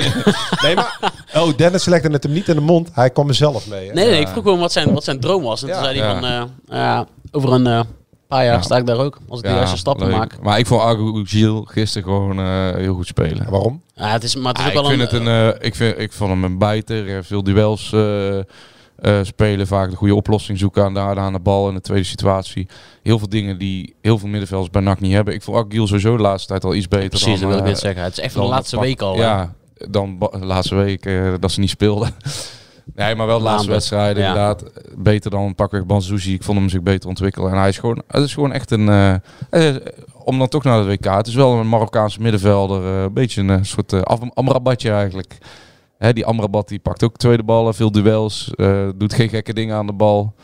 [SPEAKER 8] Nee, maar... [LAUGHS] Oh, Dennis legde het hem niet in de mond. Hij kwam er zelf mee. hè.
[SPEAKER 6] Nee, nee, ik vroeg hem wat zijn, wat zijn droom was. En toen
[SPEAKER 8] Ja.
[SPEAKER 6] zei hij
[SPEAKER 7] Ja.
[SPEAKER 6] van, eh, ja, over een eh, paar jaar
[SPEAKER 7] Ja.
[SPEAKER 6] sta ik daar ook. Als ik de juiste stappen
[SPEAKER 7] leuk.
[SPEAKER 6] maak.
[SPEAKER 7] Maar ik vond Argo Giel gisteren gewoon eh, heel goed spelen.
[SPEAKER 8] Ja, Waarom?
[SPEAKER 6] Ja, het is, maar het is
[SPEAKER 7] Ah,
[SPEAKER 6] ook wel
[SPEAKER 7] ik, vind
[SPEAKER 6] een...
[SPEAKER 7] het een, eh, ik, vind, ik vond hem een bijter. eh, Veel duels eh, eh, spelen. Vaak de goede oplossing zoeken aan de, aan de bal in de tweede situatie. Heel veel dingen die heel veel middenvelders bij NAC niet hebben. Ik vond Argo sowieso de laatste tijd al iets beter
[SPEAKER 6] precies,
[SPEAKER 7] dan,
[SPEAKER 6] dat wil ik
[SPEAKER 7] eh,
[SPEAKER 6] net zeggen. Het is echt van de
[SPEAKER 7] dan
[SPEAKER 6] laatste
[SPEAKER 7] pak-
[SPEAKER 6] week al. hè.
[SPEAKER 7] Ja, dan ba- de laatste week eh, dat ze niet speelden. [LAUGHS] nee, maar wel de laatste
[SPEAKER 6] Maanden.
[SPEAKER 7] wedstrijden
[SPEAKER 6] Ja.
[SPEAKER 7] inderdaad. Beter dan pakweg Banzuzi. Ik vond hem zich beter ontwikkelen. En hij is gewoon, het is gewoon echt een... eh, eh, om dan toch naar het WK. Het is wel een Marokkaanse middenvelder. eh, een beetje een eh, soort eh, af- Amrabatje eigenlijk. Hè, die Amrabat die pakt ook tweede ballen. Veel duels. eh, doet geen gekke dingen aan de bal.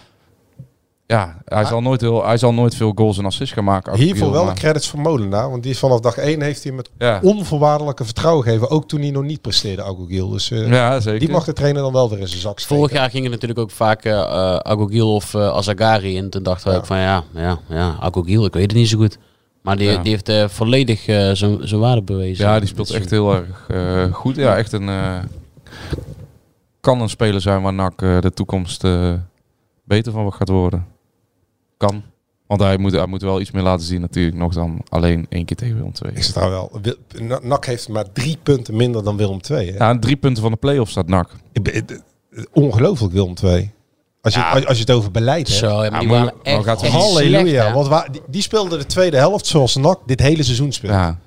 [SPEAKER 7] Ja, hij, zal nooit heel, hij zal nooit veel goals en assists gaan maken. achter
[SPEAKER 8] Hiervoor
[SPEAKER 7] Giel,
[SPEAKER 8] wel
[SPEAKER 7] maar-
[SPEAKER 8] de credits voor Molenaar. Want die is vanaf dag 1 heeft hij met
[SPEAKER 7] Ja.
[SPEAKER 8] onvoorwaardelijke vertrouwen gegeven. Ook toen hij nog niet presteerde, Agogiel. Dus eh,
[SPEAKER 7] ja, zeker.
[SPEAKER 8] die mag de trainer dan wel weer in zijn zak steken.
[SPEAKER 6] Vorig jaar gingen natuurlijk ook vaak eh eh, Agogil of eh, Azagari. En toen dachten we ook van ja, ja, ja, Agogil, ik weet het niet zo goed. Maar die,
[SPEAKER 7] Ja.
[SPEAKER 6] die heeft eh, volledig eh, zijn zijn waarde bewezen.
[SPEAKER 7] Ja, die speelt echt heel erg eh, goed. Ja, echt een... eh, kan een speler zijn waar NAC eh, de toekomst eh, beter van gaat worden. Kan. Want hij moet, hij moet wel iets meer laten zien natuurlijk. Nog dan alleen één keer tegen Willem II.
[SPEAKER 8] Ik zit daar wel. Wil- Na- NAC heeft maar drie punten minder dan Willem II. hè?
[SPEAKER 7] Ja, aan drie punten van de play-off staat NAC.
[SPEAKER 8] Ik ben- eh, eh, Ongelooflijk Willem II. Als je, als, als je het over beleid hebt.
[SPEAKER 6] Zo, ja, maar die
[SPEAKER 7] Ah, maar-
[SPEAKER 6] waren
[SPEAKER 7] maar
[SPEAKER 6] echt,
[SPEAKER 7] gaat-
[SPEAKER 6] echt
[SPEAKER 8] Halleluja.
[SPEAKER 6] slecht, hè.
[SPEAKER 8] want wa- die, die speelde de tweede helft zoals NAC dit hele seizoen speelt.
[SPEAKER 7] Ja.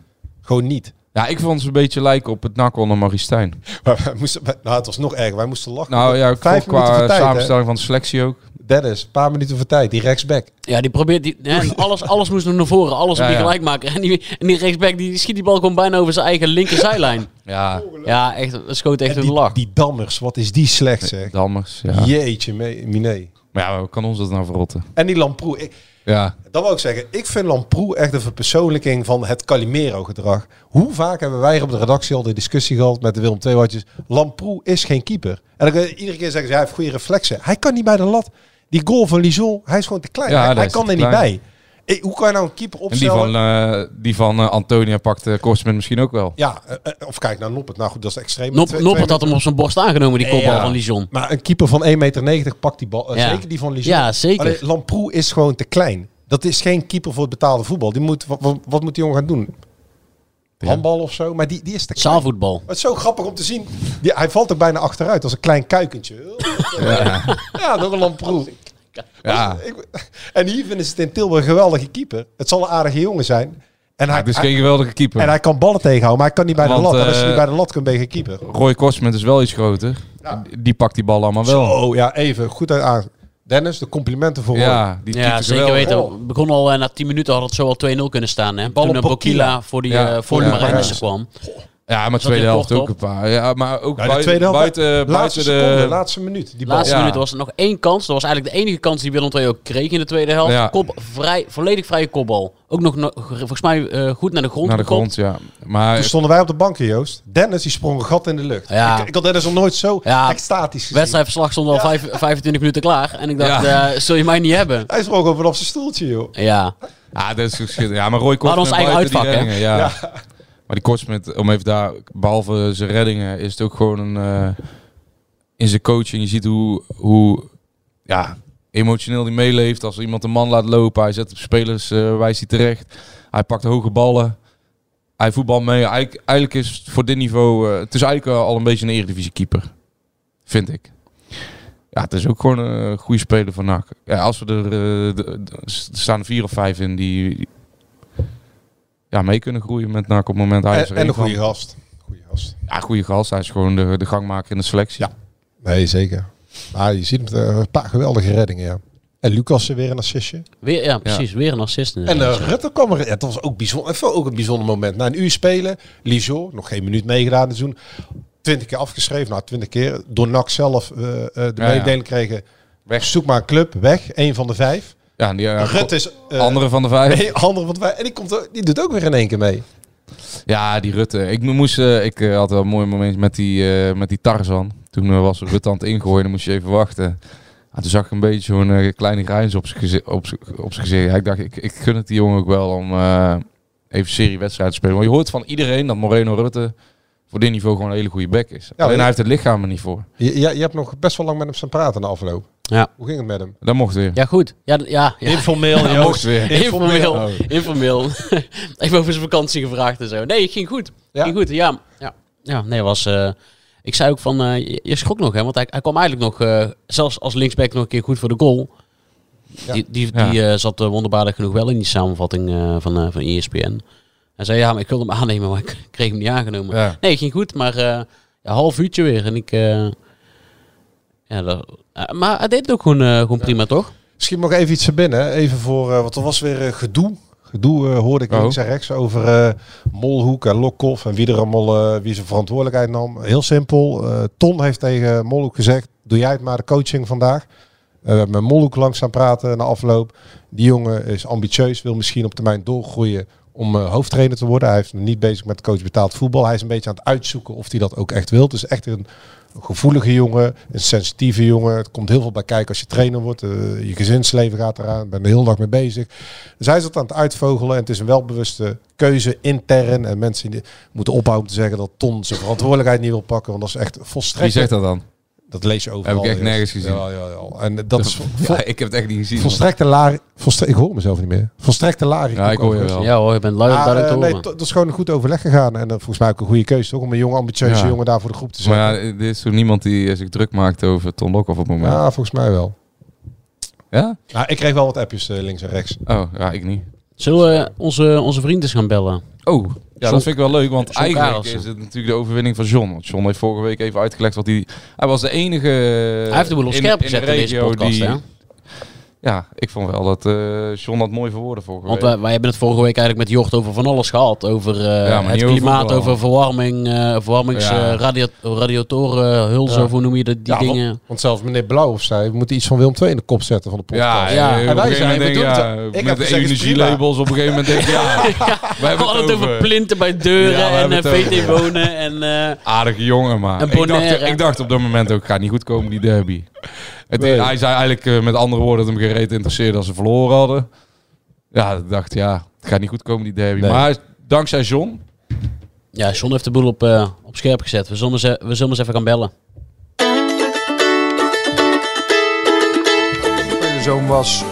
[SPEAKER 8] Gewoon niet.
[SPEAKER 7] ja, ik vond ze een beetje lijken op het NAC onder Maristijn.
[SPEAKER 8] Maar wij moesten, wij- nou, het was nog erg. Wij moesten lachen.
[SPEAKER 7] Nou ja, ik
[SPEAKER 8] Vijf
[SPEAKER 7] vond
[SPEAKER 8] minuten
[SPEAKER 7] qua
[SPEAKER 8] voor tijd,
[SPEAKER 7] samenstelling van de selectie ook.
[SPEAKER 8] hè? Dennis, een paar minuten voor tijd. Die rechtsback.
[SPEAKER 6] Ja, die probeert die, hè,
[SPEAKER 7] [LAUGHS]
[SPEAKER 6] alles, alles moest nog naar voren, alles
[SPEAKER 7] Ja,
[SPEAKER 6] moet je
[SPEAKER 7] ja.
[SPEAKER 6] gelijk maken. [LAUGHS] En die, en die rechtsback die schiet die bal gewoon bijna over zijn eigen
[SPEAKER 7] [LAUGHS]
[SPEAKER 6] linkerzijlijn.
[SPEAKER 7] Ja,
[SPEAKER 6] ja, echt, dat schoot echt
[SPEAKER 8] En
[SPEAKER 6] een
[SPEAKER 8] die,
[SPEAKER 6] lach.
[SPEAKER 8] die dammers, wat is die slecht zeg.
[SPEAKER 7] Dammers. Ja.
[SPEAKER 8] Jeetje, me- miné.
[SPEAKER 7] Maar ja, hoe kan ons dat nou verrotten?
[SPEAKER 8] En die Lamproe. Ik,
[SPEAKER 7] Ja.
[SPEAKER 8] dat wil ik zeggen. Ik vind Lamproe echt een verpersoonlijking van het Calimero-gedrag. Hoe vaak hebben wij hier op de redactie al de discussie gehad met de Willem Tweewartjes. Lamproe is geen keeper. En dan kan je iedere keer zeggen ze, hij heeft goede reflexen. Hij kan niet bij de lat. Die goal van Lison, hij is gewoon te klein.
[SPEAKER 7] Ja,
[SPEAKER 8] hij
[SPEAKER 7] hij
[SPEAKER 8] hij
[SPEAKER 7] is
[SPEAKER 8] kan
[SPEAKER 7] te
[SPEAKER 8] er niet bij.
[SPEAKER 7] klein.
[SPEAKER 8] Ik- hoe kan je nou een keeper
[SPEAKER 7] En die
[SPEAKER 8] opstellen?
[SPEAKER 7] van, eh, die van eh, Antonia pakt uh, misschien ook wel.
[SPEAKER 8] Ja, eh, eh, of kijk naar Noppert. Nou goed, dat is extreem.
[SPEAKER 6] Nop,
[SPEAKER 8] Twee-
[SPEAKER 6] Noppert
[SPEAKER 8] twee-
[SPEAKER 6] had hem op zijn borst aangenomen, die kopbal
[SPEAKER 7] Ja.
[SPEAKER 6] van Lijon.
[SPEAKER 8] Maar een keeper van 1,90 meter pakt die bal. eh,
[SPEAKER 6] Ja.
[SPEAKER 8] Zeker die van Lijon.
[SPEAKER 6] Ja, zeker.
[SPEAKER 8] Alleen, Lamproe is gewoon te klein. Dat is geen keeper voor het betaalde voetbal. Die moet, wat, wat, wat moet die jongen gaan doen? Handbal of zo? Maar die, die is te klein.
[SPEAKER 6] Zaalvoetbal.
[SPEAKER 8] Maar Het is zo grappig om te zien. Die, hij valt er bijna achteruit als een klein kuikentje. Ja, nog een Lamproe.
[SPEAKER 7] Ja.
[SPEAKER 8] Ik- En hier vinden ze het in Tilburg een geweldige keeper. Het zal een aardige jongen zijn. En hij,
[SPEAKER 7] het is
[SPEAKER 8] hij-
[SPEAKER 7] geen geweldige keeper.
[SPEAKER 8] en hij kan ballen tegenhouden, maar hij kan niet bij
[SPEAKER 7] Want,
[SPEAKER 8] de lat. En als je
[SPEAKER 7] eh,
[SPEAKER 8] niet bij de lat kunt, ben je geen keeper.
[SPEAKER 7] Roy Korsman is wel iets groter. Die- Die pakt die bal allemaal wel.
[SPEAKER 8] Oh ja, even goed aan. Dennis, de complimenten voor Roy.
[SPEAKER 7] Ja, die
[SPEAKER 6] Ja,
[SPEAKER 7] typt er
[SPEAKER 6] zeker
[SPEAKER 7] wel.
[SPEAKER 6] weten.
[SPEAKER 8] Oh.
[SPEAKER 6] Het begon al eh, na 10 minuten had het zo al 2-0 kunnen staan. Hè?
[SPEAKER 8] Bal
[SPEAKER 6] Toen
[SPEAKER 8] op
[SPEAKER 6] een Bokila
[SPEAKER 8] Bokila.
[SPEAKER 6] voor die,
[SPEAKER 7] Ja,
[SPEAKER 6] eh,
[SPEAKER 7] voor
[SPEAKER 6] voor
[SPEAKER 7] die
[SPEAKER 6] die Marijnissen
[SPEAKER 8] Marijnissen.
[SPEAKER 6] kwam.
[SPEAKER 7] Ja, maar
[SPEAKER 6] Zat
[SPEAKER 7] tweede
[SPEAKER 6] hij
[SPEAKER 7] helft
[SPEAKER 6] kort
[SPEAKER 7] ook een
[SPEAKER 6] op?
[SPEAKER 7] paar. Ja, maar ook
[SPEAKER 8] Nou, de
[SPEAKER 7] buiten,
[SPEAKER 8] tweede helft,
[SPEAKER 7] buiten, eh,
[SPEAKER 8] laatste
[SPEAKER 7] buiten
[SPEAKER 8] seconde,
[SPEAKER 7] de...
[SPEAKER 8] laatste minuut. Die bal.
[SPEAKER 6] Laatste
[SPEAKER 7] Ja.
[SPEAKER 6] minuut was er nog één kans. Dat was eigenlijk de enige kans die Willem II ook kreeg in de tweede helft.
[SPEAKER 7] Ja.
[SPEAKER 6] Kop, vrij, volledig vrije kopbal. Ook nog no- volgens mij eh, goed naar de grond
[SPEAKER 7] Naar de
[SPEAKER 6] gekopt.
[SPEAKER 7] grond, ja. Maar
[SPEAKER 8] Toen stonden wij op de bank, Joost. Dennis die sprong een gat in de lucht.
[SPEAKER 6] Ja.
[SPEAKER 8] Ik, ik had Dennis nog nooit zo
[SPEAKER 6] Ja.
[SPEAKER 8] extatisch gezien.
[SPEAKER 6] Wedstrijdverslag stond al vijf- 25 minuten klaar. En ik dacht,
[SPEAKER 7] Ja.
[SPEAKER 6] eh, zul je mij niet hebben?
[SPEAKER 8] Hij sprong over op zijn stoeltje, joh.
[SPEAKER 6] Ja,
[SPEAKER 7] Ja, Ah, dat is geschiedenis. Ja, maar Roy Korsman
[SPEAKER 6] ons eigen
[SPEAKER 7] buiten die
[SPEAKER 6] uitvak, hè?
[SPEAKER 7] reddingen, ja. Maar die Korsman, om even daar, behalve zijn reddingen, is het ook gewoon een, eh, in zijn coaching. Je ziet hoe, hoe ja, emotioneel hij meeleeft. Als iemand een man laat lopen, hij zet op spelers, eh wijst hij terecht. Hij pakt hoge ballen. Hij voetbal mee. Eigenlijk, eigenlijk is het voor dit niveau, eh, het is eigenlijk al een beetje een eredivisie keeper. Vind ik. Ja, het is ook gewoon een eh, goede speler van NAC. Ja, als we er, eh, de- de- s- er staan er vier of vijf in die ja, mee kunnen groeien met NAC op het moment. Hij is
[SPEAKER 8] En,
[SPEAKER 7] er
[SPEAKER 8] en
[SPEAKER 7] één
[SPEAKER 8] een goede
[SPEAKER 7] van.
[SPEAKER 8] gast. Goeie gast.
[SPEAKER 7] Ja, goede gast. Hij is gewoon de, de gangmaker in de selectie.
[SPEAKER 8] Ja. Nee, zeker. Maar je ziet hem, eh, een paar geweldige reddingen, ja. En Lucas weer een assistje.
[SPEAKER 6] weer, ja precies. Weer een assist.
[SPEAKER 8] En eh,
[SPEAKER 6] inderdaad.
[SPEAKER 8] Rutte kwam er. Het was ook, bijzonder, ik vond ook een bijzonder moment. Na een uur spelen, Lizo, nog geen minuut meegedaan dit seizoen. Twintig keer afgeschreven, nou twintig keer. Door NAC zelf eh, eh, de
[SPEAKER 7] Ja, ja.
[SPEAKER 8] mededeling kregen.
[SPEAKER 7] Weg.
[SPEAKER 8] Zoek maar een club, weg. Een van de vijf.
[SPEAKER 7] Ja, en die, eh,
[SPEAKER 8] Rutte is... eh,
[SPEAKER 7] andere van de vijf.
[SPEAKER 8] [LAUGHS] Nee, andere van de vijf. En die, komt, ook- die doet ook weer in één keer mee.
[SPEAKER 7] Ja, die Rutte. Ik moest, eh, ik eh, had wel een mooi moment met die, eh, met die Tarzan. Toen eh, was Rutte aan het ingooien, dan moest je even wachten. Ah, toen zag ik een beetje zo'n eh, kleine grijns op zijn gezi- op z'n- op zijn gezicht. Ja, ik dacht, ik, ik gun het die jongen ook wel om eh, even serie wedstrijden te spelen. Want je hoort van iedereen dat Moreno Rutte voor dit niveau gewoon een hele goede back is. Alleen
[SPEAKER 8] maar-
[SPEAKER 7] hij heeft het lichaam er niet voor.
[SPEAKER 8] Je, je, je hebt nog best wel lang met hem staan praten na afloop.
[SPEAKER 6] Ja.
[SPEAKER 8] Hoe ging het met hem?
[SPEAKER 7] Dat mocht weer.
[SPEAKER 6] Ja, goed. Ja, d- ja, ja.
[SPEAKER 8] eh, Informeel,
[SPEAKER 7] Dat mocht
[SPEAKER 6] [LAUGHS]
[SPEAKER 7] weer.
[SPEAKER 6] Informeel.
[SPEAKER 7] Oh.
[SPEAKER 6] Informeel. [LAUGHS] Even over zijn vakantie gevraagd en zo. Nee, het ging goed.
[SPEAKER 8] Ja?
[SPEAKER 6] Ging goed, ja. Ja, ja nee, was... eh, ik zei ook van, eh, je- je schrok nog, hè. Want hij, hij kwam eigenlijk nog, eh, zelfs als linksback nog een keer goed voor de goal. Die, die,
[SPEAKER 7] Ja.
[SPEAKER 6] die eh, zat eh, wonderbaarlijk genoeg wel in die samenvatting eh, van, eh van ESPN. Hij zei, ja, maar ik wilde hem [LAUGHS] aannemen, maar ik kreeg hem niet aangenomen.
[SPEAKER 7] Ja.
[SPEAKER 6] Nee, het ging goed, maar eh ja, half uurtje weer. En ik... eh, ja, dat- eh, maar hij deed het ook gewoon, eh, gewoon prima, toch?
[SPEAKER 8] Misschien nog even iets binnen. Even voor, eh want er was weer eh, gedoe. Gedoe eh, hoorde ik
[SPEAKER 7] Oh.
[SPEAKER 8] links en rechts over eh, Molhoek en Lokhoff en wie er allemaal eh, wie zijn verantwoordelijkheid nam. Heel simpel. eh, Ton heeft tegen Molhoek gezegd: doe jij het maar de coaching vandaag. Eh, we hebben met Molloek langzaam praten na afloop. Die jongen is ambitieus, wil misschien op termijn doorgroeien om eh, hoofdtrainer te worden. Hij is nog niet bezig met coach betaald voetbal. Hij is een beetje aan het uitzoeken of hij dat ook echt wil. Dus echt een gevoelige jongen, een sensitieve jongen. Het komt heel veel bij kijken als je trainer wordt. Eh, je gezinsleven gaat eraan. Ik ben er heel dag mee bezig. Dus hij is dat aan het uitvogelen. En het is een welbewuste keuze intern. En mensen die moeten ophouden om te zeggen dat Ton zijn verantwoordelijkheid niet wil pakken. Want dat is echt
[SPEAKER 7] Wie
[SPEAKER 8] volstrekt...
[SPEAKER 7] zegt dat dan?
[SPEAKER 8] Dat lees je overal.
[SPEAKER 7] Heb ik echt
[SPEAKER 8] joh.
[SPEAKER 7] nergens gezien.
[SPEAKER 8] Ja, ja, ja. En dat
[SPEAKER 7] [LAUGHS]
[SPEAKER 8] is vol-
[SPEAKER 7] Ja, ik heb het echt niet gezien.
[SPEAKER 8] volstrekte laag. Volstre ik hoor mezelf niet meer. Volstrekte laag.
[SPEAKER 7] Ja, ik hoor je wel.
[SPEAKER 6] Ja hoor, je bent lui om
[SPEAKER 8] Ah,
[SPEAKER 6] duidelijk
[SPEAKER 8] eh,
[SPEAKER 6] te
[SPEAKER 8] nee,
[SPEAKER 6] horen.
[SPEAKER 8] to- dat is gewoon een goed overleg gegaan. En eh, volgens mij ook een goede keuze toch? Om een jonge, ambitieuze
[SPEAKER 7] Ja.
[SPEAKER 8] jongen daar voor de groep te zetten.
[SPEAKER 7] Maar ja, er is zo niemand die eh, zich druk maakt over Ton Lokhoff op het moment.
[SPEAKER 8] Ja, volgens mij wel.
[SPEAKER 7] Ja?
[SPEAKER 8] Nou, ik kreeg wel wat appjes eh, links en rechts.
[SPEAKER 7] Oh, ja, ik niet.
[SPEAKER 6] Zullen we onze, onze vrienden gaan bellen?
[SPEAKER 7] Oh, ja,
[SPEAKER 6] John-
[SPEAKER 7] dat vind ik wel leuk, want
[SPEAKER 6] John
[SPEAKER 7] eigenlijk
[SPEAKER 6] Karelsen.
[SPEAKER 7] is het natuurlijk de overwinning van John. Want John heeft vorige week even uitgelegd wat hij... Hij was de enige... Hij
[SPEAKER 6] Hij heeft de boel op scherp gezet in, deze podcast, hè?
[SPEAKER 7] Ja, ik vond wel dat eh John dat mooi verwoordde vorige
[SPEAKER 6] Want
[SPEAKER 7] week.
[SPEAKER 6] wij, wij hebben het vorige week eigenlijk met Jocht over van alles gehad. Over eh,
[SPEAKER 7] Ja, maar
[SPEAKER 6] het
[SPEAKER 7] niet over
[SPEAKER 6] klimaat,
[SPEAKER 7] voetbal.
[SPEAKER 6] over verwarming, eh verwarmings,
[SPEAKER 7] Ja.
[SPEAKER 6] eh, radio- radiatoren, hulzen, of hoe noem je dat, die
[SPEAKER 8] Ja, want-
[SPEAKER 6] dingen.
[SPEAKER 8] [LAUGHS] Want, zelfs meneer Blauw of zij moeten iets van Willem II in de kop zetten van de podcast.
[SPEAKER 7] Ja,
[SPEAKER 6] Ja.
[SPEAKER 7] ja.
[SPEAKER 6] En
[SPEAKER 7] Op
[SPEAKER 8] wij
[SPEAKER 7] een gegeven
[SPEAKER 8] zeiden,
[SPEAKER 7] moment denk
[SPEAKER 8] we
[SPEAKER 7] ik,
[SPEAKER 8] doen
[SPEAKER 7] ja,
[SPEAKER 8] het- ik
[SPEAKER 7] met
[SPEAKER 8] heb
[SPEAKER 7] de
[SPEAKER 8] gezegd, het is prima.
[SPEAKER 7] energielabels op een gegeven moment denk ik, ja,
[SPEAKER 6] [LAUGHS]
[SPEAKER 7] wij
[SPEAKER 6] We
[SPEAKER 7] hebben
[SPEAKER 6] hadden het over plinten bij deuren
[SPEAKER 7] Ja, we
[SPEAKER 6] en
[SPEAKER 7] hebben
[SPEAKER 6] eh,
[SPEAKER 7] het over-
[SPEAKER 6] VT wonen en... eh,
[SPEAKER 7] Aardige jongen, maar
[SPEAKER 6] Een
[SPEAKER 7] ik dacht,
[SPEAKER 6] Bonaire.
[SPEAKER 7] ik dacht op dat moment ook, gaat niet goed komen die derby. Het,
[SPEAKER 8] Nee.
[SPEAKER 7] Hij zei eigenlijk eh, met andere woorden dat hem gereed interesseerde als ze verloren hadden. Ja, ik dacht, ja, het gaat niet goed komen die derby.
[SPEAKER 8] Nee.
[SPEAKER 7] Maar dankzij John,
[SPEAKER 6] ja, John heeft de boel op, eh, op scherp gezet. We zullen, eens, eh, we zullen eens even gaan bellen.
[SPEAKER 9] Mijn zoon was,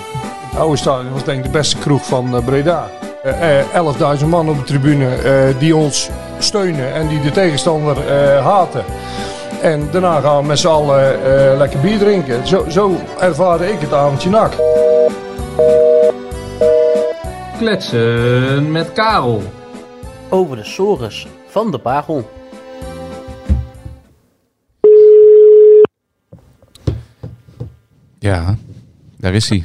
[SPEAKER 9] het oude stadion was denk ik de beste kroeg van eh, Breda. Eh, eh, 11.000 man op de tribune eh, die ons steunen en die de tegenstander eh, haten. En daarna gaan we met z'n allen eh, lekker bier drinken. Zo, zo ervaarde ik het avondje nak.
[SPEAKER 10] Kletsen met Karel.
[SPEAKER 11] over de sores van de pagel.
[SPEAKER 7] ja, daar is hij.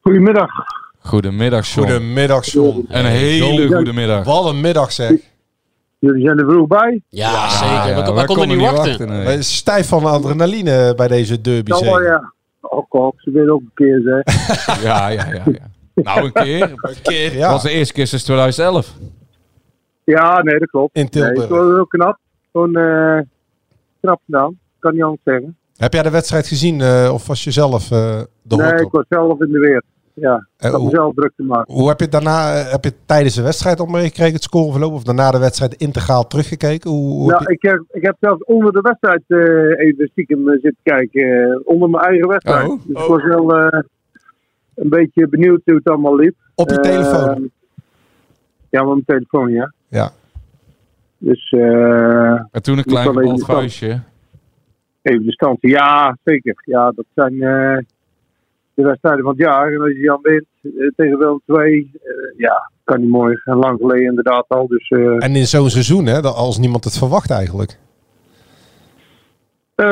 [SPEAKER 9] Goedemiddag.
[SPEAKER 7] Goedemiddag John.
[SPEAKER 8] Goedemiddag, John.
[SPEAKER 7] Een hele goede middag.
[SPEAKER 8] Wat een middag zeg.
[SPEAKER 9] Jullie zijn er vroeg bij.
[SPEAKER 6] Ja, zeker. We,
[SPEAKER 7] Ja,
[SPEAKER 6] we
[SPEAKER 7] wij
[SPEAKER 6] konden niet wachten.
[SPEAKER 7] nee.
[SPEAKER 8] Hij is stijf van adrenaline eh, bij deze derby. zeker.
[SPEAKER 9] ja. Oh, kop, ze willen ook een keer eh, zeggen.
[SPEAKER 7] Ja, ja, ja, ja. Nou, [LAUGHS] een keer. Dat
[SPEAKER 8] Keer, ja.
[SPEAKER 7] was de eerste keer sinds 2011.
[SPEAKER 9] Ja, nee, dat klopt.
[SPEAKER 8] In Tilburg. Nee, het was
[SPEAKER 9] heel knap. Gewoon eh, knap gedaan. Kan niet anders zeggen.
[SPEAKER 8] Heb jij de wedstrijd gezien eh, of was je zelf eh, de hot op?
[SPEAKER 9] was zelf in de weer. Ja,
[SPEAKER 8] Eh, hoe-
[SPEAKER 9] mezelf druk te maken.
[SPEAKER 8] Hoe heb je het daarna, eh, heb je het tijdens de wedstrijd al meegekregen, het scoreverloop? Of daarna de wedstrijd integraal teruggekeken? Hoe, hoe heb
[SPEAKER 9] Nou,
[SPEAKER 8] je-
[SPEAKER 9] ik heb, ik heb zelfs onder de wedstrijd eh, even stiekem eh, zitten kijken. eh, onder mijn eigen wedstrijd.
[SPEAKER 7] Oh.
[SPEAKER 9] Dus ik was wel eh, een beetje benieuwd hoe het allemaal liep.
[SPEAKER 8] op je
[SPEAKER 9] Eh,
[SPEAKER 8] telefoon?
[SPEAKER 9] Ja, op mijn telefoon, ja.
[SPEAKER 8] Ja.
[SPEAKER 9] Dus eh,
[SPEAKER 7] En toen een
[SPEAKER 9] Moet
[SPEAKER 7] klein
[SPEAKER 9] wel even
[SPEAKER 7] gebald
[SPEAKER 9] de kant.
[SPEAKER 7] vuistje.
[SPEAKER 9] even de stand. Ja, zeker. Ja, dat zijn eh, de wedstrijden van het jaar. En als je dan wint eh, tegen Willem II, eh, ja, kan niet mooi. En lang geleden inderdaad al. Dus eh,
[SPEAKER 8] En in zo'n seizoen, hè, dat- als niemand het verwacht eigenlijk. [LAUGHS]
[SPEAKER 9] Eh,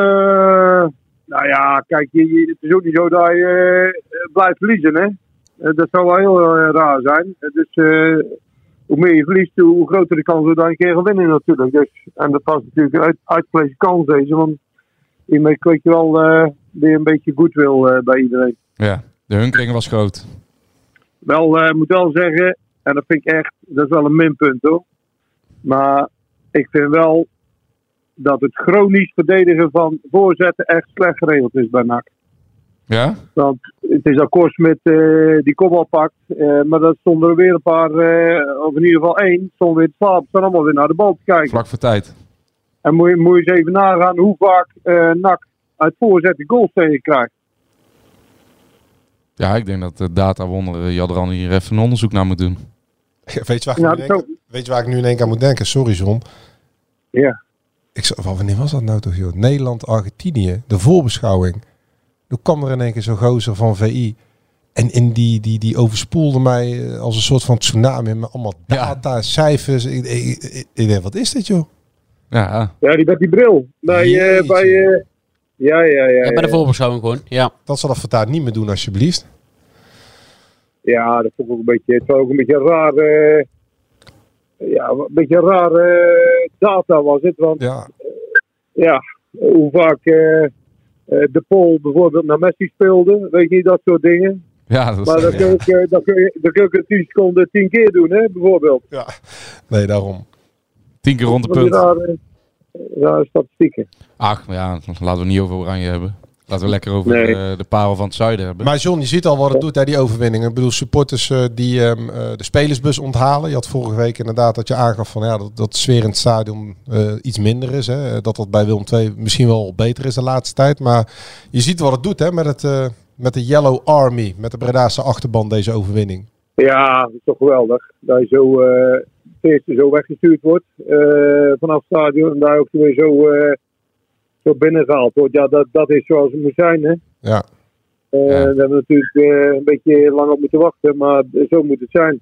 [SPEAKER 9] nou ja, kijk, je, je- het is ook niet zo dat je eh, blijft verliezen, hè. Eh, dat zou wel heel eh, raar zijn. Eh, dus eh, hoe meer je verliest, hoe groter de kans dat je een keer gaat winnen natuurlijk. Dus, en dat was natuurlijk een uit, uitgelezen kans deze, want hiermee kweek je wel eh, weer een beetje goodwill eh bij iedereen.
[SPEAKER 7] Ja, de hunkering was groot.
[SPEAKER 9] Wel, eh, moet wel zeggen, en dat vind ik echt, dat is wel een minpunt hoor. Maar ik vind wel dat het chronisch verdedigen van voorzetten echt slecht geregeld is bij NAC.
[SPEAKER 7] Ja?
[SPEAKER 9] Want het is al Korsmit eh die kopbal pakt, eh, maar dat stonden er weer een paar, eh, of in ieder geval één, stonden weer te slapen, staan allemaal weer naar de bal te kijken.
[SPEAKER 7] Vlak voor tijd.
[SPEAKER 9] En moet je, moet je eens even nagaan hoe vaak eh NAC uit voorzetten goals tegen krijgt.
[SPEAKER 7] Ja, ik denk dat de data wonderen Jadran hier even een onderzoek naar moet doen.
[SPEAKER 8] Weet je waar ik,
[SPEAKER 9] Nou,
[SPEAKER 8] nu, in
[SPEAKER 9] dat
[SPEAKER 8] één keer- weet je waar ik nu in één keer aan moet denken? Sorry John.
[SPEAKER 9] Ja.
[SPEAKER 8] Ik zei, wa- wanneer was dat nou toch joh? Nederland-Argentinië, de voorbeschouwing. Toen kwam er in één keer zo'n gozer van VI. En, en die, die, die overspoelde mij eh, als een soort van tsunami. Met allemaal data, cijfers. Ik, ik, ik- ik denk, wat is dit joh?
[SPEAKER 7] Ja,
[SPEAKER 9] Ja, die met die bril. Bij, eh,
[SPEAKER 8] Jeetje.
[SPEAKER 9] bij, eh, ja, ja, ja.
[SPEAKER 6] Ja,
[SPEAKER 9] ja.
[SPEAKER 6] bij de voorbeschouwing gewoon, ja.
[SPEAKER 8] Dat zal dat vandaag niet meer doen alsjeblieft.
[SPEAKER 9] Ja, dat vond ik ook een beetje, het was ook een beetje een raar, eh, ja, een beetje raar eh, data was het. Want
[SPEAKER 8] Ja,
[SPEAKER 9] ja, hoe vaak eh, eh, De Pol bijvoorbeeld naar Messi speelde. Weet je niet, dat soort dingen.
[SPEAKER 7] Ja, dat is-
[SPEAKER 9] maar dat kun, je, ook, eh, dat, kun je, dat kun je ook in 10 seconden 10 keer doen, hè, bijvoorbeeld.
[SPEAKER 8] Ja. Nee, daarom.
[SPEAKER 7] Tien keer rond de
[SPEAKER 9] Van die
[SPEAKER 7] punt.
[SPEAKER 9] Rare, rare statistieken.
[SPEAKER 7] Ach, maar ja, laten we het niet over Oranje hebben. Laten we lekker over
[SPEAKER 9] Nee.
[SPEAKER 7] eh, de parel van het zuiden hebben.
[SPEAKER 8] Maar John, je ziet al wat het doet, hè, die overwinningen. Ik bedoel, supporters eh, die ehm, eh, de spelersbus onthalen. Je had vorige week inderdaad dat je aangaf van ja, dat, dat de sfeer in het stadion eh, iets minder is. Hè. Dat dat bij Willem II misschien wel beter is de laatste tijd. Maar je ziet wat het doet hè, met, het, eh, met de Yellow Army, met de Bredaanse achterban, deze overwinning.
[SPEAKER 9] Ja, dat is toch geweldig. Dat je zo, eh het eerste zo weggestuurd wordt eh, vanaf het stadion. En daar ook weer zo, eh zo binnengehaald wordt. Ja, dat, dat is zoals het moet zijn. Hè.
[SPEAKER 8] Ja.
[SPEAKER 9] Eh,
[SPEAKER 7] Ja.
[SPEAKER 9] Daar hebben we natuurlijk eh, een beetje lang op moeten wachten. Maar zo moet het zijn.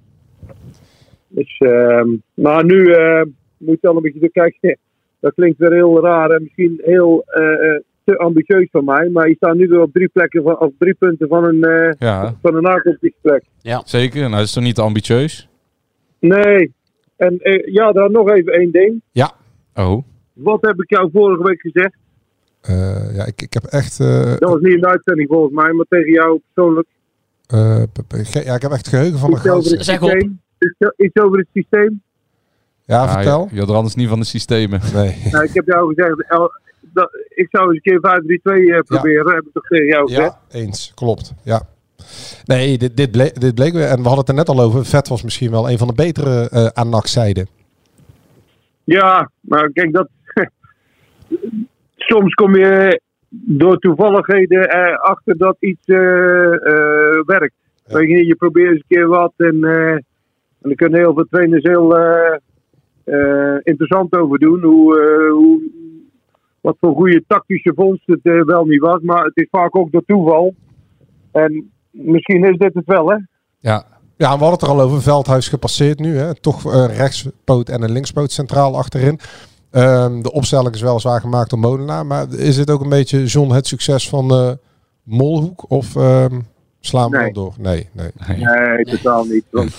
[SPEAKER 9] Dus, ehm, maar nu eh, moet je al een beetje door kijken. [LAUGHS] Dat klinkt weer heel raar en misschien heel eh, eh, te ambitieus van mij. Maar je staat nu weer op drie, plekken van, op drie punten van een, eh
[SPEAKER 7] Ja,
[SPEAKER 9] van een aankomstplek.
[SPEAKER 7] zeker. Nou, dat is toch niet ambitieus?
[SPEAKER 9] Nee. En eh, ja, dan nog even één ding.
[SPEAKER 7] Oh.
[SPEAKER 9] Wat heb ik jou vorige week gezegd?
[SPEAKER 8] Eh, ja, ik, ik heb echt. eh,
[SPEAKER 9] Dat was niet in de uitzending volgens mij, maar tegen jou persoonlijk.
[SPEAKER 8] eh, p- p- ge- ja, ik heb echt geheugen van mijn
[SPEAKER 9] Iets over
[SPEAKER 8] grootste.
[SPEAKER 9] het
[SPEAKER 6] Zeg op.
[SPEAKER 9] systeem. Iets, iets over het systeem.
[SPEAKER 8] Ja,
[SPEAKER 7] Ah,
[SPEAKER 8] vertel.
[SPEAKER 7] Je, je had er anders niet van de systemen.
[SPEAKER 8] Nee.
[SPEAKER 9] Nou, ik heb jou gezegd, El- dat, ik zou eens een keer 5-3-2 eh, proberen. Heb ik toch tegen jou gezegd?
[SPEAKER 8] Ja, eens. Klopt. Ja. Nee, dit, dit, bleek, dit bleek weer. En we hadden het er net al over. Vet was misschien wel een van de betere eh aan NAC-zijde.
[SPEAKER 9] Ja, maar kijk, dat. [LAUGHS] Soms kom je door toevalligheden eh, achter dat iets eh, eh, werkt. Weet je, je probeert eens een keer wat en, eh, en er kunnen heel veel trainers heel eh, eh, interessant over doen. Hoe, eh, hoe, wat voor goede tactische vondst het eh, wel niet was, maar het is vaak ook door toeval. En misschien is dit het wel, hè?
[SPEAKER 7] Ja.
[SPEAKER 8] Ja, en we hadden het er al over. Veldhuis gepasseerd nu. Hè. Toch eh, rechtspoot en een linkspoot centraal achterin. Ehm, de opstelling is weliswaar gemaakt door Molenaar. Maar is dit ook een beetje, John, het succes van eh, Molhoek? Of ehm, slaan we
[SPEAKER 9] Nee.
[SPEAKER 8] wel door? Nee, nee.
[SPEAKER 9] Nee, totaal niet. Want,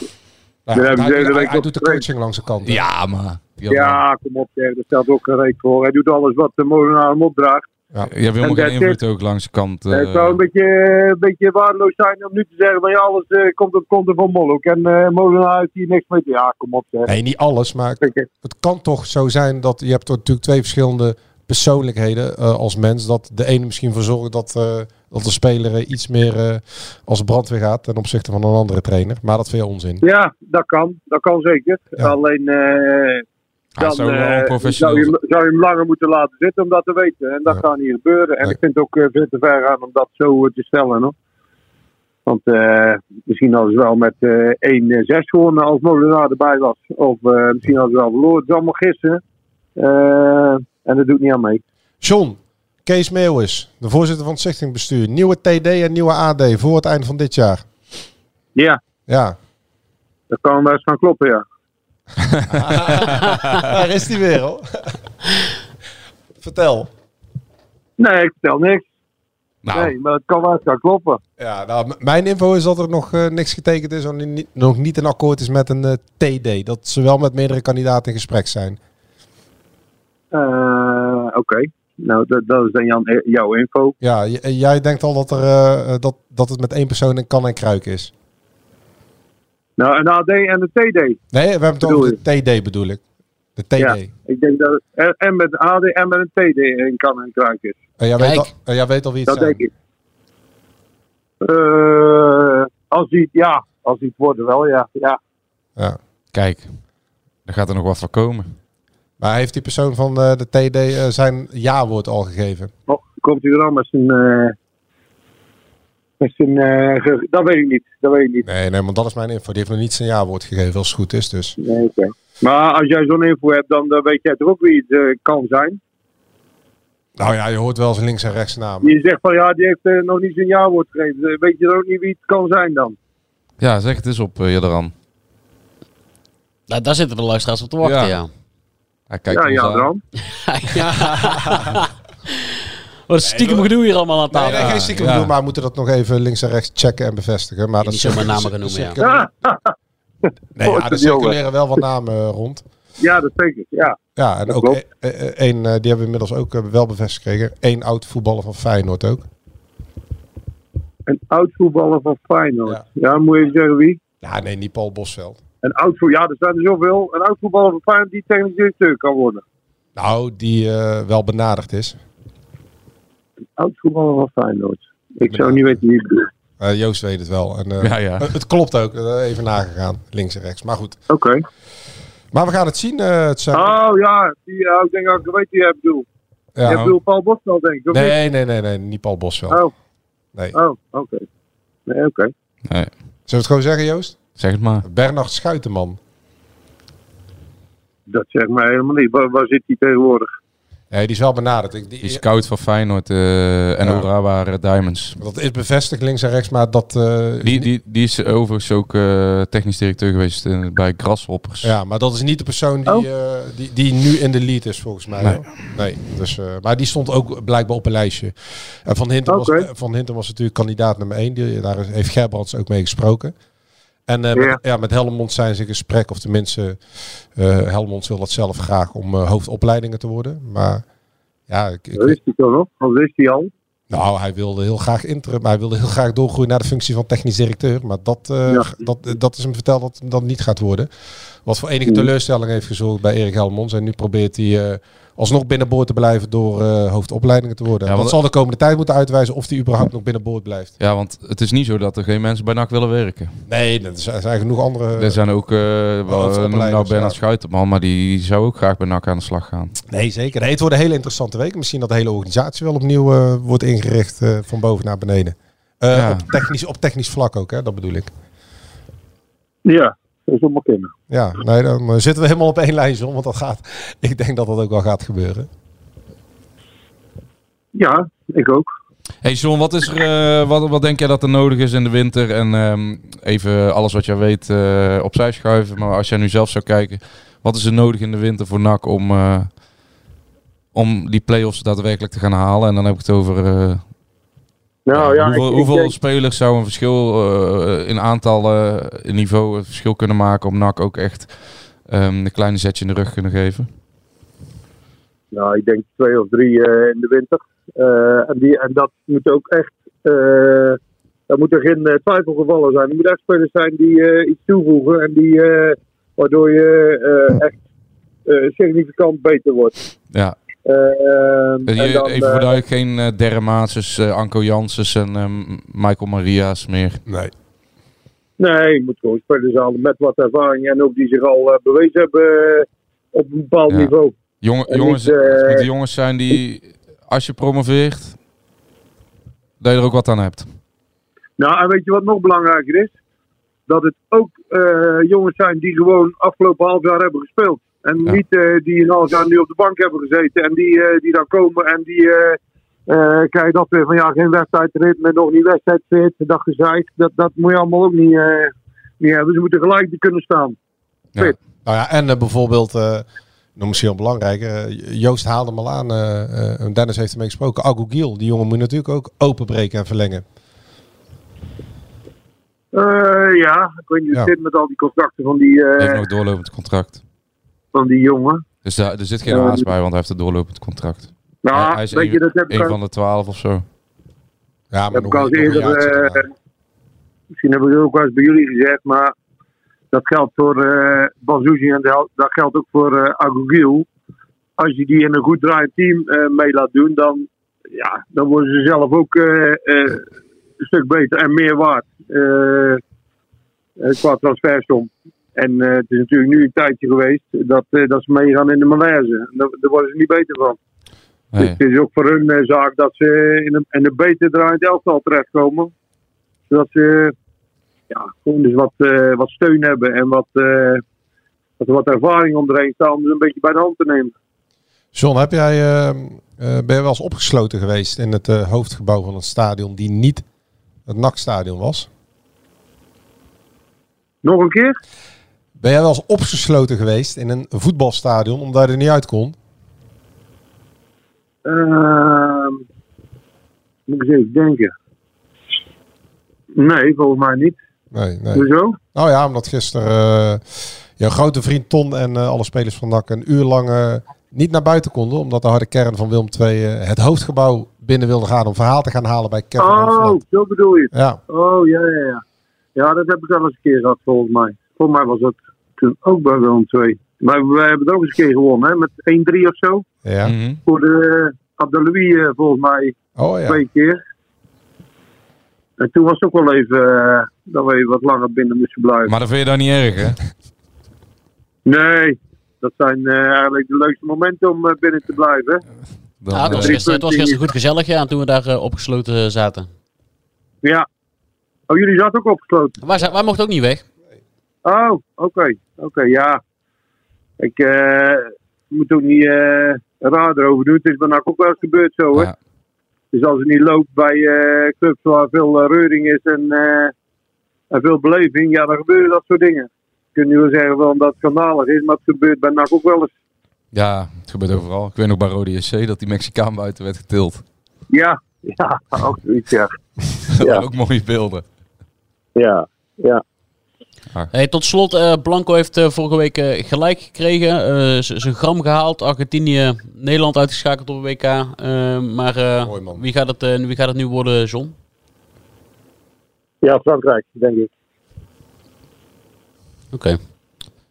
[SPEAKER 8] Ja,
[SPEAKER 9] hebben ze
[SPEAKER 8] hij,
[SPEAKER 9] de hele
[SPEAKER 8] hij-
[SPEAKER 9] week
[SPEAKER 8] hij
[SPEAKER 9] op
[SPEAKER 8] doet de
[SPEAKER 9] getraind.
[SPEAKER 8] coaching langs de kant.
[SPEAKER 7] [LAUGHS]
[SPEAKER 8] hè.
[SPEAKER 7] Ja, maar... die had-
[SPEAKER 9] ja, kom op, zeg, dat stelt ook een reet voor. Hij doet alles wat de molenaar hem opdraagt.
[SPEAKER 7] Je hebt helemaal
[SPEAKER 9] En
[SPEAKER 7] geen
[SPEAKER 9] dat
[SPEAKER 7] invloed ook langs de kant.
[SPEAKER 9] Eh,
[SPEAKER 7] eh.
[SPEAKER 9] het zou een beetje, een beetje waardeloos zijn om nu te zeggen van ja, alles eh, komt op konten van Molhoek. En eh Molenaar heeft hier niks mee. te- Ja, kom op zeg.
[SPEAKER 8] Nee, niet alles, maar
[SPEAKER 9] Weet je,
[SPEAKER 8] het kan toch zo zijn dat je hebt natuurlijk twee verschillende persoonlijkheden eh, als mens. Dat de ene misschien voor zorgt dat, eh, dat de speler eh, iets meer eh, als brandweer gaat ten opzichte van een andere trainer. Maar dat vind je onzin.
[SPEAKER 9] Ja, dat kan. Dat kan zeker.
[SPEAKER 8] Ja.
[SPEAKER 9] Alleen eh
[SPEAKER 7] Hij
[SPEAKER 8] Ah,
[SPEAKER 9] dan
[SPEAKER 7] zou wel
[SPEAKER 9] eh,
[SPEAKER 7] onprofessioneel
[SPEAKER 9] zou, je, hem- zou je hem langer moeten laten zitten om dat te weten. En dat
[SPEAKER 8] Ja.
[SPEAKER 9] gaat niet gebeuren. En
[SPEAKER 8] Nee.
[SPEAKER 9] ik vind het ook eh, veel te ver gaan om dat zo eh, te stellen. Hoor. Want eh, misschien hadden ze wel met eh 1-6 gewonnen als Molenaar erbij was. Of eh, misschien hadden ze wel verloren. Het is allemaal gissen. Eh, en dat doet niet aan mee.
[SPEAKER 8] John, Kees Meeuwis, de voorzitter van het stichtingbestuur. Nieuwe TD en nieuwe AD voor het einde van dit jaar.
[SPEAKER 9] Ja.
[SPEAKER 8] Ja,
[SPEAKER 9] Dat kan wel eens gaan kloppen, ja.
[SPEAKER 8] daar is die weer hoor. Vertel.
[SPEAKER 9] Nee, ik vertel niks.
[SPEAKER 7] Nou,
[SPEAKER 9] Nee, maar het kan wel eens gaan kloppen.
[SPEAKER 8] Ja, nou, m- mijn info is dat er nog eh, niks getekend is en ni- nog niet een akkoord is met een eh, TD. Dat ze wel met meerdere kandidaten in gesprek zijn.
[SPEAKER 9] Eh, Oké. Nou, dat, dat is dan Jan, jouw info.
[SPEAKER 8] Ja, j- jij denkt al dat, er, eh, eh, dat, dat het met één persoon een kan en kruik is.
[SPEAKER 9] Nou, een AD en een TD.
[SPEAKER 8] Nee, we hebben het
[SPEAKER 9] Bedoel
[SPEAKER 8] over de TD bedoel ik. De Eh, TD.
[SPEAKER 9] Ja.
[SPEAKER 8] En
[SPEAKER 9] Ik denk dat het en- en met een AD en met een TD in kan en kruik is.
[SPEAKER 8] jij, weet
[SPEAKER 6] Kijk.
[SPEAKER 8] al, en jij weet al wie het
[SPEAKER 9] Dat
[SPEAKER 8] zijn.
[SPEAKER 9] denk ik. Eh, als die, ja, als die het worden wel, ja. ja.
[SPEAKER 8] Ja.
[SPEAKER 7] kijk. Daar gaat er nog wat van komen.
[SPEAKER 8] Maar heeft die persoon van eh, de TD eh, zijn ja-woord al gegeven?
[SPEAKER 9] Oh, komt hij er dan met zijn... eh, met zijn eh, ge- dat weet ik niet. Dat weet ik niet.
[SPEAKER 8] Nee, nee, want dat is mijn info. Die heeft nog niet zijn ja-woord gegeven, als het goed is dus.
[SPEAKER 9] Nee, oké. Maar als jij zo'n info hebt, dan, dan weet jij toch ook wie het eh, kan zijn.
[SPEAKER 8] Nou ja, je hoort wel zijn links en rechts namen.
[SPEAKER 9] Je zegt van ja, die heeft eh, nog niet zijn jaarwoord gegeven. Eh, Weet je dan ook niet wie het kan zijn dan?
[SPEAKER 7] Ja, zeg het eens op, uh, Jadran.
[SPEAKER 6] Nou, daar zitten de luisteraars op te wachten, ja.
[SPEAKER 7] Hij kijkt
[SPEAKER 9] ja,
[SPEAKER 7] ons
[SPEAKER 9] ja,
[SPEAKER 7] aan.
[SPEAKER 9] dan.
[SPEAKER 6] [LAUGHS] Wat een stiekem gedoe hier allemaal aan
[SPEAKER 8] Nee,
[SPEAKER 6] tafel.
[SPEAKER 8] nee, geen stiekem
[SPEAKER 7] Ja.
[SPEAKER 8] bedoel, maar we moeten dat nog even links en rechts checken en bevestigen. Maar dat
[SPEAKER 6] niet zomaar
[SPEAKER 8] is-
[SPEAKER 6] namen gaan noemen,
[SPEAKER 8] is-
[SPEAKER 6] ja.
[SPEAKER 8] is- [LAUGHS] Nee, ja,
[SPEAKER 9] Oh,
[SPEAKER 8] er
[SPEAKER 9] jongen.
[SPEAKER 8] circuleren wel wat namen eh, rond.
[SPEAKER 9] Ja, dat zeker. Ja.
[SPEAKER 8] Ja, en
[SPEAKER 9] Dat
[SPEAKER 8] ook
[SPEAKER 9] klopt.
[SPEAKER 8] e- e- één, eh, die hebben we inmiddels ook eh, wel bevestigd gekregen. Eén oud voetballer van Feyenoord ook.
[SPEAKER 9] Een oud voetballer van Feyenoord.
[SPEAKER 8] Ja.
[SPEAKER 9] Ja, moet je zeggen wie?
[SPEAKER 8] Ja, nee, niet Paul Bosveld.
[SPEAKER 9] Een oud voetballer. Ja, er zijn er zoveel. Een oud voetballer van Feyenoord die technisch directeur kan worden.
[SPEAKER 8] Nou, die eh, wel benaderd is.
[SPEAKER 9] Oud voetballer van Feyenoord. Ik zou
[SPEAKER 8] Ja.
[SPEAKER 9] niet weten wie ik bedoel.
[SPEAKER 8] Eh, Joost weet het wel. En, eh,
[SPEAKER 7] Ja, ja.
[SPEAKER 8] eh, Het klopt ook. Eh, even nagegaan. Links en rechts. Maar goed.
[SPEAKER 9] Oké.
[SPEAKER 8] Maar we gaan het zien. eh, het zijn-
[SPEAKER 9] Oh ja, die, ja, ik denk dat ik weet wie jij bedoelt.
[SPEAKER 8] ja.
[SPEAKER 9] Jij bedoelt Paul Bosveld, denk ik. of niet?
[SPEAKER 8] Nou. nee, nee, nee, nee. Niet Paul Bosveld.
[SPEAKER 9] Oh,
[SPEAKER 8] Nee. Zullen
[SPEAKER 9] oh oké. Nee, oké.
[SPEAKER 8] we het gewoon zeggen, Joost?
[SPEAKER 7] Zeg het maar.
[SPEAKER 8] Bernard Schuitenman.
[SPEAKER 9] Dat zegt mij helemaal niet. Waar, waar zit hij tegenwoordig?
[SPEAKER 8] Eh, die is wel benaderd. Ik, die,
[SPEAKER 7] Die scout van Feyenoord eh, en
[SPEAKER 8] Ja.
[SPEAKER 7] Orawa eh, Diamonds.
[SPEAKER 8] dat is bevestigd links en rechts, maar dat... eh,
[SPEAKER 7] Die, die, die is overigens ook eh, technisch directeur geweest eh, bij Grasshoppers.
[SPEAKER 8] Ja, maar dat is niet de persoon die,
[SPEAKER 9] Oh.
[SPEAKER 8] eh, die, die nu in de lead is, volgens mij.
[SPEAKER 7] Nee.
[SPEAKER 8] hoor. nee dus, eh, maar die stond ook blijkbaar op een lijstje. En Van Hintem,
[SPEAKER 9] Oké.
[SPEAKER 8] was, eh, van Hintem was natuurlijk kandidaat nummer één. Die, daar is- heeft Gerbrands ook mee gesproken. En eh,
[SPEAKER 9] Ja.
[SPEAKER 8] Met, ja, met Helmond zijn ze in gesprek. Of tenminste, eh Helmond wil dat zelf graag om eh, hoofdopleidingen te worden. Maar ja, ik, ik-
[SPEAKER 9] Dat is hij toch nog? Of is hij al?
[SPEAKER 8] nou, hij wilde heel graag interim. maar Hij wilde heel graag doorgroeien naar de functie van technisch directeur. Maar dat, eh,
[SPEAKER 9] Ja.
[SPEAKER 8] dat, dat is hem verteld dat hem dat niet gaat worden. Wat voor enige
[SPEAKER 9] Mm.
[SPEAKER 8] teleurstelling heeft gezorgd bij Erik Helmons. En nu probeert hij eh, alsnog binnenboord te blijven door eh, hoofdopleidingen te worden.
[SPEAKER 7] Ja,
[SPEAKER 8] dat
[SPEAKER 7] want-
[SPEAKER 8] zal de komende tijd moeten uitwijzen of hij überhaupt nog binnenboord blijft.
[SPEAKER 7] Ja, want het is niet zo dat er geen mensen bij NAC willen werken.
[SPEAKER 8] Nee, er zijn, er zijn genoeg andere...
[SPEAKER 7] er zijn ook, eh wel,
[SPEAKER 8] opleiders,
[SPEAKER 7] noem nou Bernard
[SPEAKER 8] ja.
[SPEAKER 7] Schuitenman, maar die zou ook graag bij NAC aan de slag gaan.
[SPEAKER 8] Nee, zeker. Nee, het wordt een hele interessante week. Misschien dat de hele organisatie wel opnieuw eh, wordt ingericht eh, van boven naar beneden. Eh,
[SPEAKER 7] Ja.
[SPEAKER 8] op, technisch, op technisch vlak ook, hè? dat bedoel ik.
[SPEAKER 9] Ja, dat is allemaal kennen.
[SPEAKER 8] Ja, nee, dan eh, zitten we helemaal op één lijn, John. Want dat gaat, ik denk dat dat ook wel gaat gebeuren.
[SPEAKER 9] Ja, ik ook.
[SPEAKER 7] Hey John, wat, is er, eh, wat, wat denk jij dat er nodig is in de winter? En ehm, even alles wat jij weet eh, opzij schuiven. Maar als jij nu zelf zou kijken, wat is er nodig in de winter voor NAC om, eh, om die play-offs daadwerkelijk te gaan halen? En dan heb ik het over eh,
[SPEAKER 9] Nou ja,
[SPEAKER 7] hoeveel,
[SPEAKER 9] ik, ik
[SPEAKER 7] hoeveel
[SPEAKER 9] denk-
[SPEAKER 7] spelers zou een verschil eh, in aantal eh, in niveau een verschil kunnen maken om NAC ook echt ehm een kleine zetje in de rug kunnen geven?
[SPEAKER 9] Nou, ik denk twee of drie eh, in de winter. Eh, en, die, en dat moet ook echt. eh daar moeten geen eh, twijfelgevallen zijn. Er moeten echt spelers zijn die eh, iets toevoegen en die, eh, waardoor je eh, echt eh, significant beter wordt.
[SPEAKER 7] Ja,
[SPEAKER 9] Eh,
[SPEAKER 7] Eh,
[SPEAKER 9] en
[SPEAKER 7] je-
[SPEAKER 9] dan,
[SPEAKER 7] even
[SPEAKER 9] eh,
[SPEAKER 7] voor duidelijk, geen eh Dermaatses, eh, Anko Janssens en ehm, Michael Maria's meer.
[SPEAKER 8] Nee.
[SPEAKER 9] nee, je moet gewoon spelers halen met wat ervaring en ook die zich al eh, bewezen hebben eh, op een bepaald
[SPEAKER 7] Ja.
[SPEAKER 9] niveau.
[SPEAKER 7] Jongen,
[SPEAKER 9] En
[SPEAKER 7] jongens,
[SPEAKER 9] niet, eh,
[SPEAKER 7] het moeten jongens zijn die, als je promoveert, dat je er ook wat aan hebt.
[SPEAKER 9] Nou, en weet je wat nog belangrijker is? Dat het ook eh, jongens zijn die gewoon afgelopen half jaar hebben gespeeld. En
[SPEAKER 7] Ja.
[SPEAKER 9] niet eh, die een half jaar nu op de bank hebben gezeten. En die, eh, die dan komen en die eh eh, krijgen dat weer van ja, geen wedstrijdritme, nog niet wedstrijdfit, dat gezeik. Dat, dat moet je allemaal ook niet, eh, niet hebben. Ze moeten gelijk te kunnen staan.
[SPEAKER 8] Nou ja, en eh, bijvoorbeeld, eh nog misschien wel belangrijk, eh, Joost haalde hem al aan. eh, eh, Dennis heeft ermee gesproken. Agu Giel, die jongen moet natuurlijk ook openbreken en verlengen.
[SPEAKER 9] Eh, ja, ik weet niet hoe het
[SPEAKER 8] Ja.
[SPEAKER 9] zit met al die contracten van die, eh,
[SPEAKER 7] Hij heeft nog doorlopend contract.
[SPEAKER 9] van die jongen.
[SPEAKER 7] Dus daar, er zit geen
[SPEAKER 9] Eh,
[SPEAKER 7] haast bij, want hij heeft een doorlopend contract.
[SPEAKER 9] Nou,
[SPEAKER 7] hij is
[SPEAKER 9] weet je, dat heb ik
[SPEAKER 7] Eén
[SPEAKER 9] al-
[SPEAKER 7] van de twaalf of zo.
[SPEAKER 8] Ja,
[SPEAKER 9] heb
[SPEAKER 8] nog
[SPEAKER 9] ik al
[SPEAKER 8] niet- nog
[SPEAKER 9] eerder,
[SPEAKER 8] niet uit-
[SPEAKER 9] eh, misschien heb ik het ook wel eens bij jullie gezegd, maar dat geldt voor eh Bazouzi en dat dat geldt ook voor eh Agogiel. Als je die in een goed draaiend team eh, mee laat doen, dan, ja, dan worden ze zelf ook eh, eh, een stuk beter en meer waard eh, eh, qua transfersom. En eh, het is natuurlijk nu een tijdje geweest dat, eh, dat ze meegaan in de malaise. Daar, daar worden ze niet beter van. Dus
[SPEAKER 7] Nee.
[SPEAKER 9] het is ook voor hun eh, zaak dat ze in een, in een beter draaiend elftal terechtkomen. Zodat ze ja, gewoon dus wat, eh, wat steun hebben en wat, eh, dat er wat ervaring om erheen staat om ze een beetje bij de hand te nemen.
[SPEAKER 8] John, heb jij, eh, eh, ben je wel eens opgesloten geweest in het eh, hoofdgebouw van het stadion die niet het NAC-stadion was?
[SPEAKER 9] Nog een keer?
[SPEAKER 8] Ben jij wel eens opgesloten geweest in een voetbalstadion omdat je er niet uit kon?
[SPEAKER 9] Ehm, moet ik eens even denken. Nee, volgens mij niet.
[SPEAKER 8] Nee, nee.
[SPEAKER 9] Hoezo?
[SPEAKER 8] Nou ja, omdat gisteren eh, jouw grote vriend Ton en eh, alle spelers van NAC een uur lang eh, niet naar buiten konden. Omdat de harde kern van Wilm II eh, het hoofdgebouw binnen wilde gaan om verhaal te gaan halen bij Kevin.
[SPEAKER 9] Oh,
[SPEAKER 8] Hoofdland.
[SPEAKER 9] zo bedoel je het.
[SPEAKER 8] Ja.
[SPEAKER 9] Oh, ja, ja, ja. Ja, dat heb ik al eens een keer gehad, volgens mij. Volgens mij was dat toen ook bij Willem 2. Maar wij hebben het ook eens een keer gewonnen, hè, met 1-3 of zo.
[SPEAKER 8] Ja.
[SPEAKER 7] Hmm. Mhm.
[SPEAKER 9] Voor de eh, Abdelouis, eh, volgens mij,
[SPEAKER 8] Oh ja.
[SPEAKER 9] twee keer. En toen was het ook wel even eh, dat we even wat langer binnen moesten blijven.
[SPEAKER 7] Maar dat vind je dan niet erg, hè?
[SPEAKER 9] Nee, dat zijn eh, eigenlijk de leukste momenten om eh, binnen te blijven. hè.
[SPEAKER 7] Dan,
[SPEAKER 6] Ja, het, was
[SPEAKER 7] eh,
[SPEAKER 6] gisteren, het was gisteren goed gezellig, ja, toen we daar eh, opgesloten zaten.
[SPEAKER 9] Ja. Oh, jullie zaten ook opgesloten?
[SPEAKER 6] Wij, za- wij mochten ook niet weg.
[SPEAKER 9] Oh, oké. Oké, ja. Ik eh, moet ook niet eh raar erover doen. Het is bij NAC ook wel eens gebeurd zo, hè.
[SPEAKER 7] Ja.
[SPEAKER 9] Dus als het niet loopt bij eh, clubs waar veel eh, reuring is en, eh, en veel beleving, ja, dan gebeuren dat soort dingen. Je kunt nu wel zeggen van dat het schandalig is, maar het gebeurt bij NAC ook wel eens.
[SPEAKER 7] ja, het gebeurt overal. Ik weet nog bij Rode SC dat die Mexicaan buiten werd getild. [LAUGHS]
[SPEAKER 9] Ja, [LAUGHS] ja, ook zoiets, ja.
[SPEAKER 7] Dat
[SPEAKER 9] Ja.
[SPEAKER 7] waren ook mooie beelden.
[SPEAKER 9] Ja, ja.
[SPEAKER 6] Hey, tot slot, eh, Blanco heeft eh, vorige week eh, gelijk gekregen. eh, z- zijn gram gehaald. Argentinië, Nederland uitgeschakeld op een WK. eh, maar eh,
[SPEAKER 8] Mooi, man.
[SPEAKER 6] wie, gaat het, eh, wie gaat het nu worden, John?
[SPEAKER 9] Ja, Frankrijk, denk ik.
[SPEAKER 6] Oké.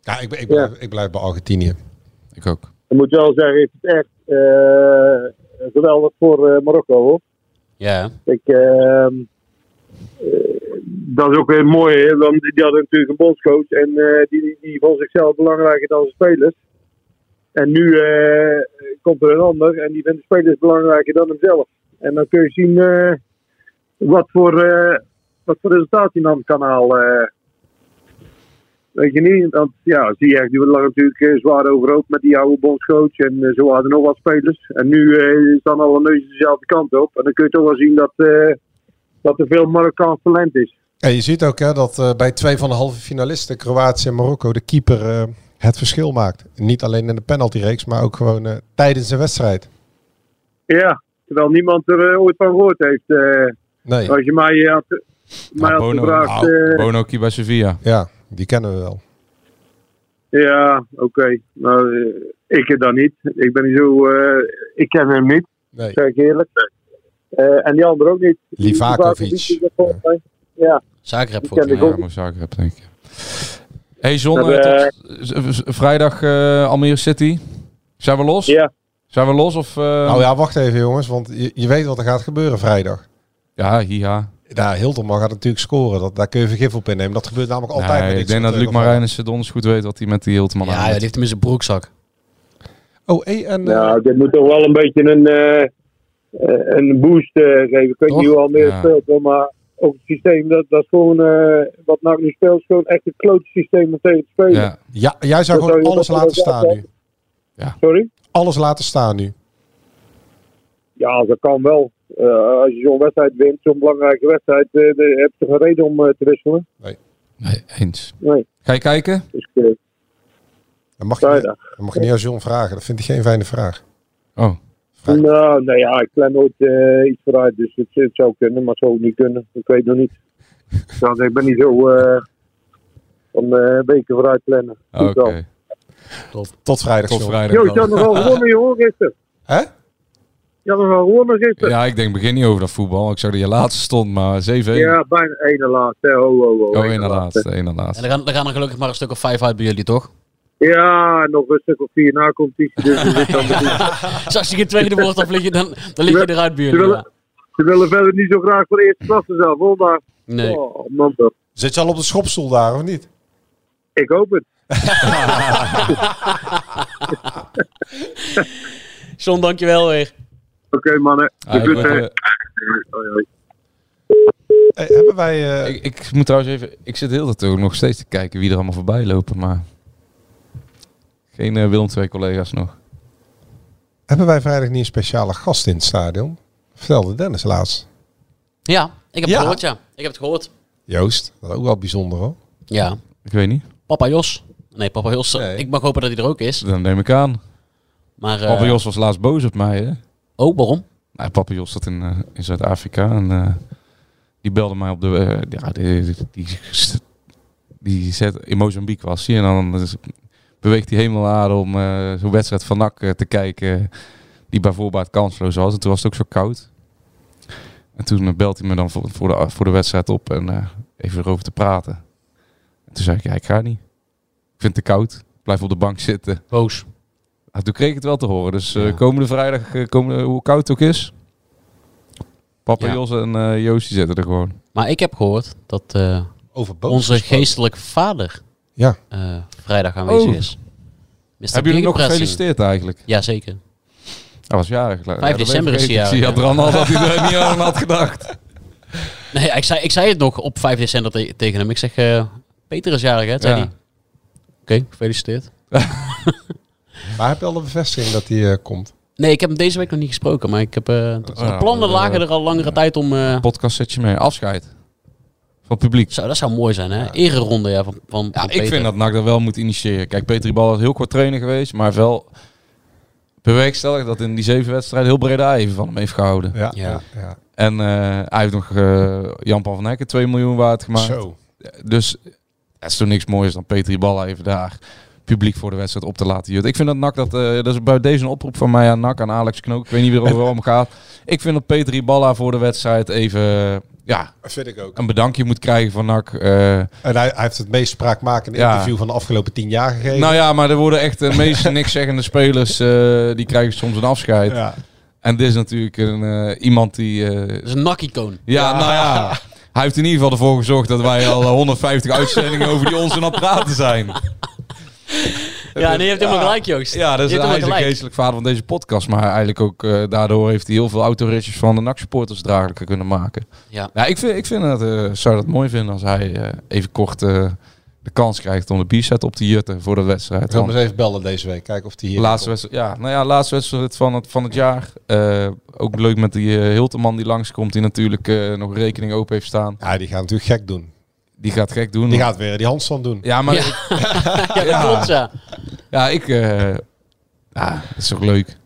[SPEAKER 8] Ja, ik, ben- ik,
[SPEAKER 9] Ja.
[SPEAKER 8] blijf, ik blijf bij Argentinië.
[SPEAKER 7] Ik ook.
[SPEAKER 9] Ik moet wel zeggen, het is echt eh, geweldig voor eh, Marokko, hoor.
[SPEAKER 6] Ja,
[SPEAKER 9] Ik, ehm, eh, dat is ook weer mooi, hè? want die hadden natuurlijk een bondscoach en eh, die, die, die vond zichzelf belangrijker dan de spelers. En nu eh, komt er een ander en die vindt de spelers belangrijker dan hemzelf. En dan kun je zien eh, wat, voor, eh, wat voor resultaat hij dan kan halen. eh. Weet je niet? Want ja, zie je, die lag natuurlijk eh, zwaar overhoop met die oude bondscoach. En eh, zo hadden nog wat spelers. En nu eh staan alle neuzen dezelfde kant op. En dan kun je toch wel zien dat, eh, dat er veel Marokkaans talent is.
[SPEAKER 8] En je ziet ook hè, dat eh, bij twee van de halve finalisten, Kroatië en Marokko, de keeper eh, het verschil maakt. Niet alleen in de penaltyreeks, maar ook gewoon eh, tijdens de wedstrijd.
[SPEAKER 9] Ja, terwijl niemand er eh, ooit van gehoord heeft. eh.
[SPEAKER 8] Nee,
[SPEAKER 9] als je mij eh, had, mij had
[SPEAKER 7] Bono,
[SPEAKER 9] gevraagd...
[SPEAKER 7] nou,
[SPEAKER 9] eh,
[SPEAKER 7] Bono ook hier bij Sevilla.
[SPEAKER 8] ja, die kennen we wel.
[SPEAKER 9] ja, oké. Nou, eh, ik het dan niet. Ik ben niet zo... eh, ik ken hem niet,
[SPEAKER 8] Nee.
[SPEAKER 9] zeg ik eerlijk. Eh, en die ander ook niet.
[SPEAKER 8] Livakovic.
[SPEAKER 9] is er volgens mij. Ja.
[SPEAKER 6] Zagreb
[SPEAKER 9] Die
[SPEAKER 6] volgens
[SPEAKER 9] ken
[SPEAKER 6] mij.
[SPEAKER 9] ik ook.
[SPEAKER 7] Ja, Mozart heb denk ik. Hey John,
[SPEAKER 9] Dat,
[SPEAKER 7] eh, tot- z- z- vrijdag eh, Almere City. Zijn we los?
[SPEAKER 9] ja.
[SPEAKER 7] Zijn we los of... eh,
[SPEAKER 8] Nou ja, wacht even jongens, want je, je weet wat er gaat gebeuren vrijdag.
[SPEAKER 7] ja, hiha.
[SPEAKER 8] Ja, Hilterman gaat natuurlijk scoren. Dat, daar kun je vergif op innemen. Dat gebeurt namelijk altijd.
[SPEAKER 7] Nee,
[SPEAKER 8] met dit
[SPEAKER 7] ik denk
[SPEAKER 8] soort,
[SPEAKER 7] dat
[SPEAKER 8] eh,
[SPEAKER 7] Luc
[SPEAKER 8] gevallen.
[SPEAKER 7] Marijnissen donders goed weet wat hij met die Hilteman
[SPEAKER 6] Ja,
[SPEAKER 7] aan
[SPEAKER 6] ja, die
[SPEAKER 7] heeft.
[SPEAKER 6] heeft hem in zijn broekzak.
[SPEAKER 8] Oh, hey, en... eh,
[SPEAKER 9] Nou, dit moet toch wel een beetje een, eh, eh, een boost eh, geven. Ik weet
[SPEAKER 6] Toch?
[SPEAKER 9] niet hoe Almere
[SPEAKER 7] Ja.
[SPEAKER 9] speelt, hoor, maar ook het systeem, dat, dat is gewoon, eh, wat NAC nu speelt, is gewoon echt een klote systeem om tegen te spelen.
[SPEAKER 7] Ja.
[SPEAKER 8] ja,
[SPEAKER 9] dat
[SPEAKER 8] jij zou
[SPEAKER 9] zou
[SPEAKER 8] gewoon
[SPEAKER 9] je
[SPEAKER 8] alles
[SPEAKER 9] dat-
[SPEAKER 8] laten
[SPEAKER 9] dat-
[SPEAKER 8] staan
[SPEAKER 9] dat-
[SPEAKER 8] nu.
[SPEAKER 9] Sorry?
[SPEAKER 8] Alles laten staan nu.
[SPEAKER 9] Ja, dat kan wel. Eh, als je zo'n wedstrijd wint, zo'n belangrijke wedstrijd, eh, dan heb je toch een reden om eh, te wisselen.
[SPEAKER 7] Nee, eens.
[SPEAKER 9] Nee.
[SPEAKER 7] Ga je kijken?
[SPEAKER 9] Dus eh,
[SPEAKER 8] Dan mag, je, niet-
[SPEAKER 9] vrijdag.
[SPEAKER 8] dan mag je niet aan John vragen. Dat vind ik geen fijne vraag.
[SPEAKER 7] Oh,
[SPEAKER 8] Vrijdag.
[SPEAKER 9] Nou, nou ja, ik plan nooit eh, iets vooruit, dus het, het zou kunnen, maar het zou ook niet kunnen. Ik weet
[SPEAKER 7] [LAUGHS]
[SPEAKER 9] nog niet. Want ik ben niet zo eh van eh, weken vooruit plannen.
[SPEAKER 7] oké.
[SPEAKER 9] Goed wel.
[SPEAKER 8] Tot vrijdag,
[SPEAKER 7] Tot
[SPEAKER 8] John.
[SPEAKER 9] Jo,
[SPEAKER 7] vrijdag
[SPEAKER 9] je had
[SPEAKER 7] dan.
[SPEAKER 9] nog wel gewonnen, joh, gisteren.
[SPEAKER 8] Hè?
[SPEAKER 9] Je had nog wel gewonnen gisteren.
[SPEAKER 7] Ja, ik denk begin niet over dat voetbal. Ik zag dat je laatste stond, maar 7-1.
[SPEAKER 9] Ja, bijna ene laatste. hè. Ho, ho, ho.
[SPEAKER 7] oh,
[SPEAKER 9] ene
[SPEAKER 7] één na
[SPEAKER 9] laatste.
[SPEAKER 7] laatste, één na
[SPEAKER 6] En
[SPEAKER 7] laatste.
[SPEAKER 6] er gaan, er gaan er gelukkig maar een stuk of vijf uit bij jullie, toch? [LAUGHS]
[SPEAKER 9] Ja, en nog een stuk of vier na competitie. Dus we zitten aan de goed.
[SPEAKER 7] [LAUGHS]
[SPEAKER 6] Dus als je geen tweede wordt, dan, lig je- dan, dan lig je eruit bij
[SPEAKER 9] ze,
[SPEAKER 6] jullie. ja.
[SPEAKER 9] willen, ze willen verder niet zo graag voor de eerste klasse zelf, hoor. Maar,
[SPEAKER 6] Nee.
[SPEAKER 9] oh, man, toch.
[SPEAKER 8] Zit je al op de schopstoel daar, of niet?
[SPEAKER 9] ik hoop het.
[SPEAKER 6] John, dankjewel weer.
[SPEAKER 9] Oké, mannen.
[SPEAKER 7] Ah,
[SPEAKER 9] De
[SPEAKER 7] ik,
[SPEAKER 9] groeten.
[SPEAKER 7] word, eh,
[SPEAKER 9] Hoi, hoi.
[SPEAKER 8] Eh, hebben wij... eh,
[SPEAKER 7] ik, ik moet trouwens even... Ik zit heel de tijd ook nog steeds te kijken wie er allemaal voorbij lopen, maar... Geen eh, Willem II collega's nog.
[SPEAKER 8] Hebben wij vrijdag niet een speciale gast in het stadion? Vertelde Dennis laatst.
[SPEAKER 6] Ja, ik heb
[SPEAKER 8] Ja.
[SPEAKER 6] het gehoord, ja. Ik heb het gehoord.
[SPEAKER 8] Joost, dat is ook wel bijzonder hoor.
[SPEAKER 6] Ja.
[SPEAKER 7] Ik weet niet.
[SPEAKER 6] Papa Jos. Nee, papa Jos. eh,
[SPEAKER 8] Nee.
[SPEAKER 6] Ik mag hopen dat hij er ook is.
[SPEAKER 7] Dan neem ik aan.
[SPEAKER 6] Maar, eh,
[SPEAKER 7] Papa Jos was laatst boos op mij, hè?
[SPEAKER 6] Oh, waarom?
[SPEAKER 7] Nou, papa Jos zat in, eh, in Zuid-Afrika en eh, die belde mij op de... eh, ja, die, die, die- die zet, in Mozambique was hij. En dan is- beweegt hij helemaal aan om eh, zo'n wedstrijd van NAC eh, te kijken. Die bij voorbaat kansloos was. En toen was het ook zo koud. En toen eh, belt hij me dan voor, voor, de, voor de wedstrijd op. En eh, even erover te praten. En toen zei ik, ja, ik ga niet. Ik vind het te koud. Ik blijf op de bank zitten.
[SPEAKER 6] Boos.
[SPEAKER 7] Ah, toen kreeg ik het wel te horen. Dus eh,
[SPEAKER 6] Ja.
[SPEAKER 7] komende vrijdag, eh, komende, hoe koud het ook is. Papa
[SPEAKER 6] Ja.
[SPEAKER 7] Jos en eh Joost die zetten er gewoon.
[SPEAKER 6] Maar ik heb gehoord dat eh,
[SPEAKER 8] Over boos
[SPEAKER 6] onze
[SPEAKER 8] gesproken.
[SPEAKER 6] geestelijke vader
[SPEAKER 8] Ja.
[SPEAKER 6] eh, vrijdag aanwezig
[SPEAKER 7] Oh.
[SPEAKER 6] is. Mr.
[SPEAKER 7] Hebben jullie nog
[SPEAKER 6] Gegenpressing.
[SPEAKER 7] gefeliciteerd eigenlijk?
[SPEAKER 6] Jazeker.
[SPEAKER 7] Hij was jarig. Ja, dat ben ik
[SPEAKER 6] december is hij
[SPEAKER 7] vergeten. Ik
[SPEAKER 6] jarig,
[SPEAKER 7] zie Adran al dat [LAUGHS] hij er niet aan had gedacht.
[SPEAKER 6] Nee, ik zei, ik zei het nog op 5 december te- tegen hem. Ik zeg, eh, Peter is jarig, hè? Zei
[SPEAKER 7] Ja.
[SPEAKER 6] hij. Oké, gefeliciteerd.
[SPEAKER 8] Maar heb je al een bevestiging dat hij eh, komt?
[SPEAKER 6] Nee, ik heb hem deze week nog niet gesproken, maar ik heb, eh, de
[SPEAKER 7] nou,
[SPEAKER 6] plannen
[SPEAKER 7] eh,
[SPEAKER 6] lagen er al langere tijd om... eh,
[SPEAKER 7] Podcast zet je mee. Afscheid. Van het publiek.
[SPEAKER 6] zo, dat zou mooi zijn, hè? Ereronde ja, van, van,
[SPEAKER 7] Ja,
[SPEAKER 6] van
[SPEAKER 7] ik
[SPEAKER 6] Peter.
[SPEAKER 7] vind dat NAC dat wel moet initiëren. Kijk, Peter Bal is heel kort trainer geweest. Maar wel bewerkstellig dat in die zeven wedstrijden heel Breda even van hem heeft gehouden.
[SPEAKER 8] Ja.
[SPEAKER 6] Ja.
[SPEAKER 8] ja.
[SPEAKER 7] En eh, hij heeft nog eh, Jan-Pan van Hekken 2 miljoen waard gemaakt.
[SPEAKER 8] Zo.
[SPEAKER 7] Dus het is toch niks moois dan Petri Balla even daar publiek voor de wedstrijd op te laten jutten. Ik vind dat NAC, dat, eh, dat is bij deze een oproep van mij aan NAC, aan Alex Knook. Ik weet niet wie er om gaat. Ik vind dat Petri Balla voor de wedstrijd even eh, ja,
[SPEAKER 8] Dat vind ik ook.
[SPEAKER 7] een bedankje moet krijgen van NAC. eh,
[SPEAKER 8] En hij, hij heeft het meest spraakmakende
[SPEAKER 7] Ja.
[SPEAKER 8] interview van de afgelopen tien jaar gegeven.
[SPEAKER 7] nou ja, maar er worden echt de meeste nikszeggende spelers, eh, die krijgen soms een afscheid.
[SPEAKER 8] ja.
[SPEAKER 7] En dit is natuurlijk een, eh, iemand die... eh,
[SPEAKER 6] Dat is een nakkie-koon.
[SPEAKER 7] ja, nou ja. Hij heeft in ieder geval ervoor gezorgd dat wij al 150 uitzendingen over die onzin aan het praten zijn.
[SPEAKER 6] Ja, nee, je hebt helemaal gelijk, Joost.
[SPEAKER 7] Ja, dat
[SPEAKER 6] Je
[SPEAKER 7] is,
[SPEAKER 6] hebt
[SPEAKER 7] hij is de
[SPEAKER 6] helemaal gelijk.
[SPEAKER 7] geestelijk vader van deze podcast. Maar eigenlijk ook eh, daardoor heeft hij heel veel autoritjes van de NAC-supporters draaglijker kunnen maken.
[SPEAKER 6] Ja.
[SPEAKER 7] Ja, ik vind, ik vind dat, eh, zou dat mooi vinden als hij eh, even kort eh, de kans krijgt om de b-set op te jutten voor de wedstrijd.
[SPEAKER 8] Ik wil
[SPEAKER 7] Want
[SPEAKER 8] hem eens even bellen deze week. Kijken of hij hier
[SPEAKER 7] laatste
[SPEAKER 8] komt.
[SPEAKER 7] wedstrijd, ja, nou ja, laatste wedstrijd van het, van het jaar. Eh, ook leuk met die eh, Hilteman die langskomt, die natuurlijk eh, nog rekening open heeft staan.
[SPEAKER 8] Ja, die gaat natuurlijk gek doen.
[SPEAKER 7] Die gaat gek doen.
[SPEAKER 8] Die gaat weer die handstand doen.
[SPEAKER 7] Ja, maar
[SPEAKER 6] Ja.
[SPEAKER 7] ik-
[SPEAKER 6] [LAUGHS] Ja, dat
[SPEAKER 7] Ja.
[SPEAKER 6] klopt, ja.
[SPEAKER 7] ja, ik... eh, ja, dat is toch leuk.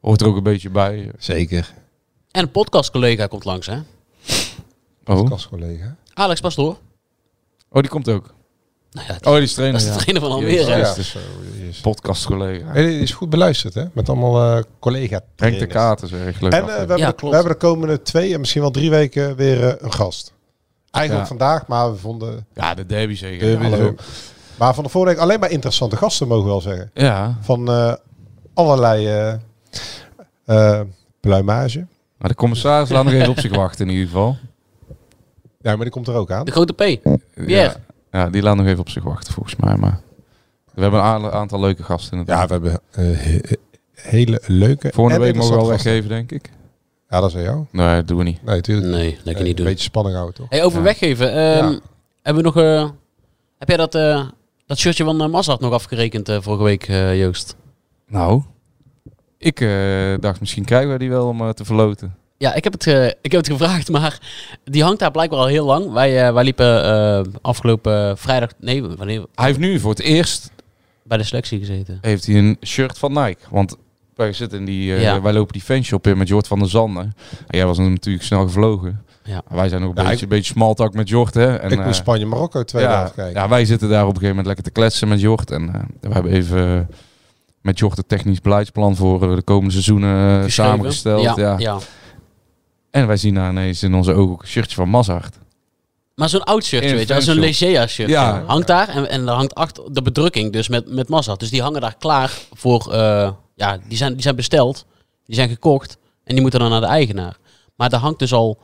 [SPEAKER 7] Hoort er ook een beetje bij.
[SPEAKER 8] Zeker.
[SPEAKER 6] En een podcastcollega komt langs, hè?
[SPEAKER 7] Oh,
[SPEAKER 8] Kastcollega.
[SPEAKER 6] Alex Pastoor.
[SPEAKER 7] oh die komt ook.
[SPEAKER 6] Nou ja, die-
[SPEAKER 7] Oh, die is
[SPEAKER 6] dat
[SPEAKER 7] trainer.
[SPEAKER 6] is de
[SPEAKER 7] ja.
[SPEAKER 6] trainer van
[SPEAKER 7] Jezus.
[SPEAKER 6] Almere.
[SPEAKER 7] Ja.
[SPEAKER 8] Ja, zo, die is-
[SPEAKER 7] Podcastcollega.
[SPEAKER 8] Hey, die is goed beluisterd, hè? Met allemaal eh collega
[SPEAKER 7] Henk de Kaat is erg leuk.
[SPEAKER 8] En eh, we,
[SPEAKER 7] af,
[SPEAKER 8] hebben
[SPEAKER 6] Ja,
[SPEAKER 8] de,
[SPEAKER 6] klopt.
[SPEAKER 8] we hebben de komende twee en misschien wel drie weken weer eh, een gast. Eigenlijk
[SPEAKER 7] Ja.
[SPEAKER 8] vandaag, maar we vonden...
[SPEAKER 7] ja, de derby zeker.
[SPEAKER 8] eh,
[SPEAKER 7] Hallo.
[SPEAKER 8] maar van de vorige week alleen maar interessante gasten, mogen we wel zeggen.
[SPEAKER 7] Ja,
[SPEAKER 8] Van eh, allerlei eh eh, pluimage.
[SPEAKER 7] maar de commissaris laat nog even op zich wachten in ieder geval.
[SPEAKER 8] Ja, maar die komt er ook aan.
[SPEAKER 6] De grote P.
[SPEAKER 7] Ja, ja, die laat nog even op zich wachten volgens mij. Maar we hebben een a- aantal leuke gasten.
[SPEAKER 8] Ja,
[SPEAKER 7] Ja,
[SPEAKER 8] we hebben eh, he- hele leuke
[SPEAKER 7] Volgende
[SPEAKER 8] en
[SPEAKER 7] week mogen we wel
[SPEAKER 8] interessante gasten.
[SPEAKER 7] weggeven, denk ik.
[SPEAKER 8] Ja, dat is aan jou.
[SPEAKER 7] Nee, dat doen we niet.
[SPEAKER 8] Nee, natuurlijk.
[SPEAKER 6] Nee, dat kan je niet
[SPEAKER 8] Een
[SPEAKER 6] doen.
[SPEAKER 8] beetje spanning houden, toch?
[SPEAKER 6] Hey, over
[SPEAKER 7] Eh, Ja.
[SPEAKER 6] weggeven. ehm,
[SPEAKER 8] Ja.
[SPEAKER 6] Hebben we nog... eh, heb jij dat, eh, dat shirtje van uh, Mazart nog afgerekend eh, vorige week, eh, Joost?
[SPEAKER 7] Nou, ik eh, dacht misschien krijgen we die wel om eh, te verloten.
[SPEAKER 6] Ja, ik heb, het, eh, ik heb het gevraagd, [LAUGHS] maar die hangt daar blijkbaar al heel lang. Wij, eh, wij liepen eh, afgelopen vrijdag, nee, wanneer,
[SPEAKER 7] Hij heeft nu voor het eerst
[SPEAKER 6] bij de selectie gezeten.
[SPEAKER 7] heeft hij een shirt van Nike. Want wij, zitten in die, eh,
[SPEAKER 6] Ja.
[SPEAKER 7] wij lopen die fanshop in met Jort van der Zanden. En jij was natuurlijk snel gevlogen.
[SPEAKER 6] Ja.
[SPEAKER 7] En Wij zijn nog een
[SPEAKER 8] Ja,
[SPEAKER 7] beetje,
[SPEAKER 8] ik-
[SPEAKER 7] beetje smaltak met Jort. Hè? En,
[SPEAKER 8] ik moet
[SPEAKER 7] eh,
[SPEAKER 8] Spanje-Marokko twee
[SPEAKER 7] ja,
[SPEAKER 8] dagen kijken.
[SPEAKER 7] ja, wij zitten daar op een gegeven moment lekker te kletsen met Jort. En eh, we hebben even eh, met Jort het technisch beleidsplan voor eh, de komende seizoenen eh,
[SPEAKER 6] Geschreven.
[SPEAKER 7] samengesteld. Ja,
[SPEAKER 6] ja.
[SPEAKER 7] En wij zien daar ineens in onze ogen ook een shirtje van Mazart.
[SPEAKER 6] Maar zo'n oud shirtje,
[SPEAKER 7] In een
[SPEAKER 6] weet je wel, zo'n
[SPEAKER 7] fanshop.
[SPEAKER 6] Legea shirt
[SPEAKER 7] Ja.
[SPEAKER 6] hangt daar en, en daar hangt achter de bedrukking dus met, met Mazart. Dus die hangen daar klaar voor, eh, ja, die zijn, die zijn besteld, die zijn gekocht en die moeten dan naar de eigenaar. Maar daar hangt dus al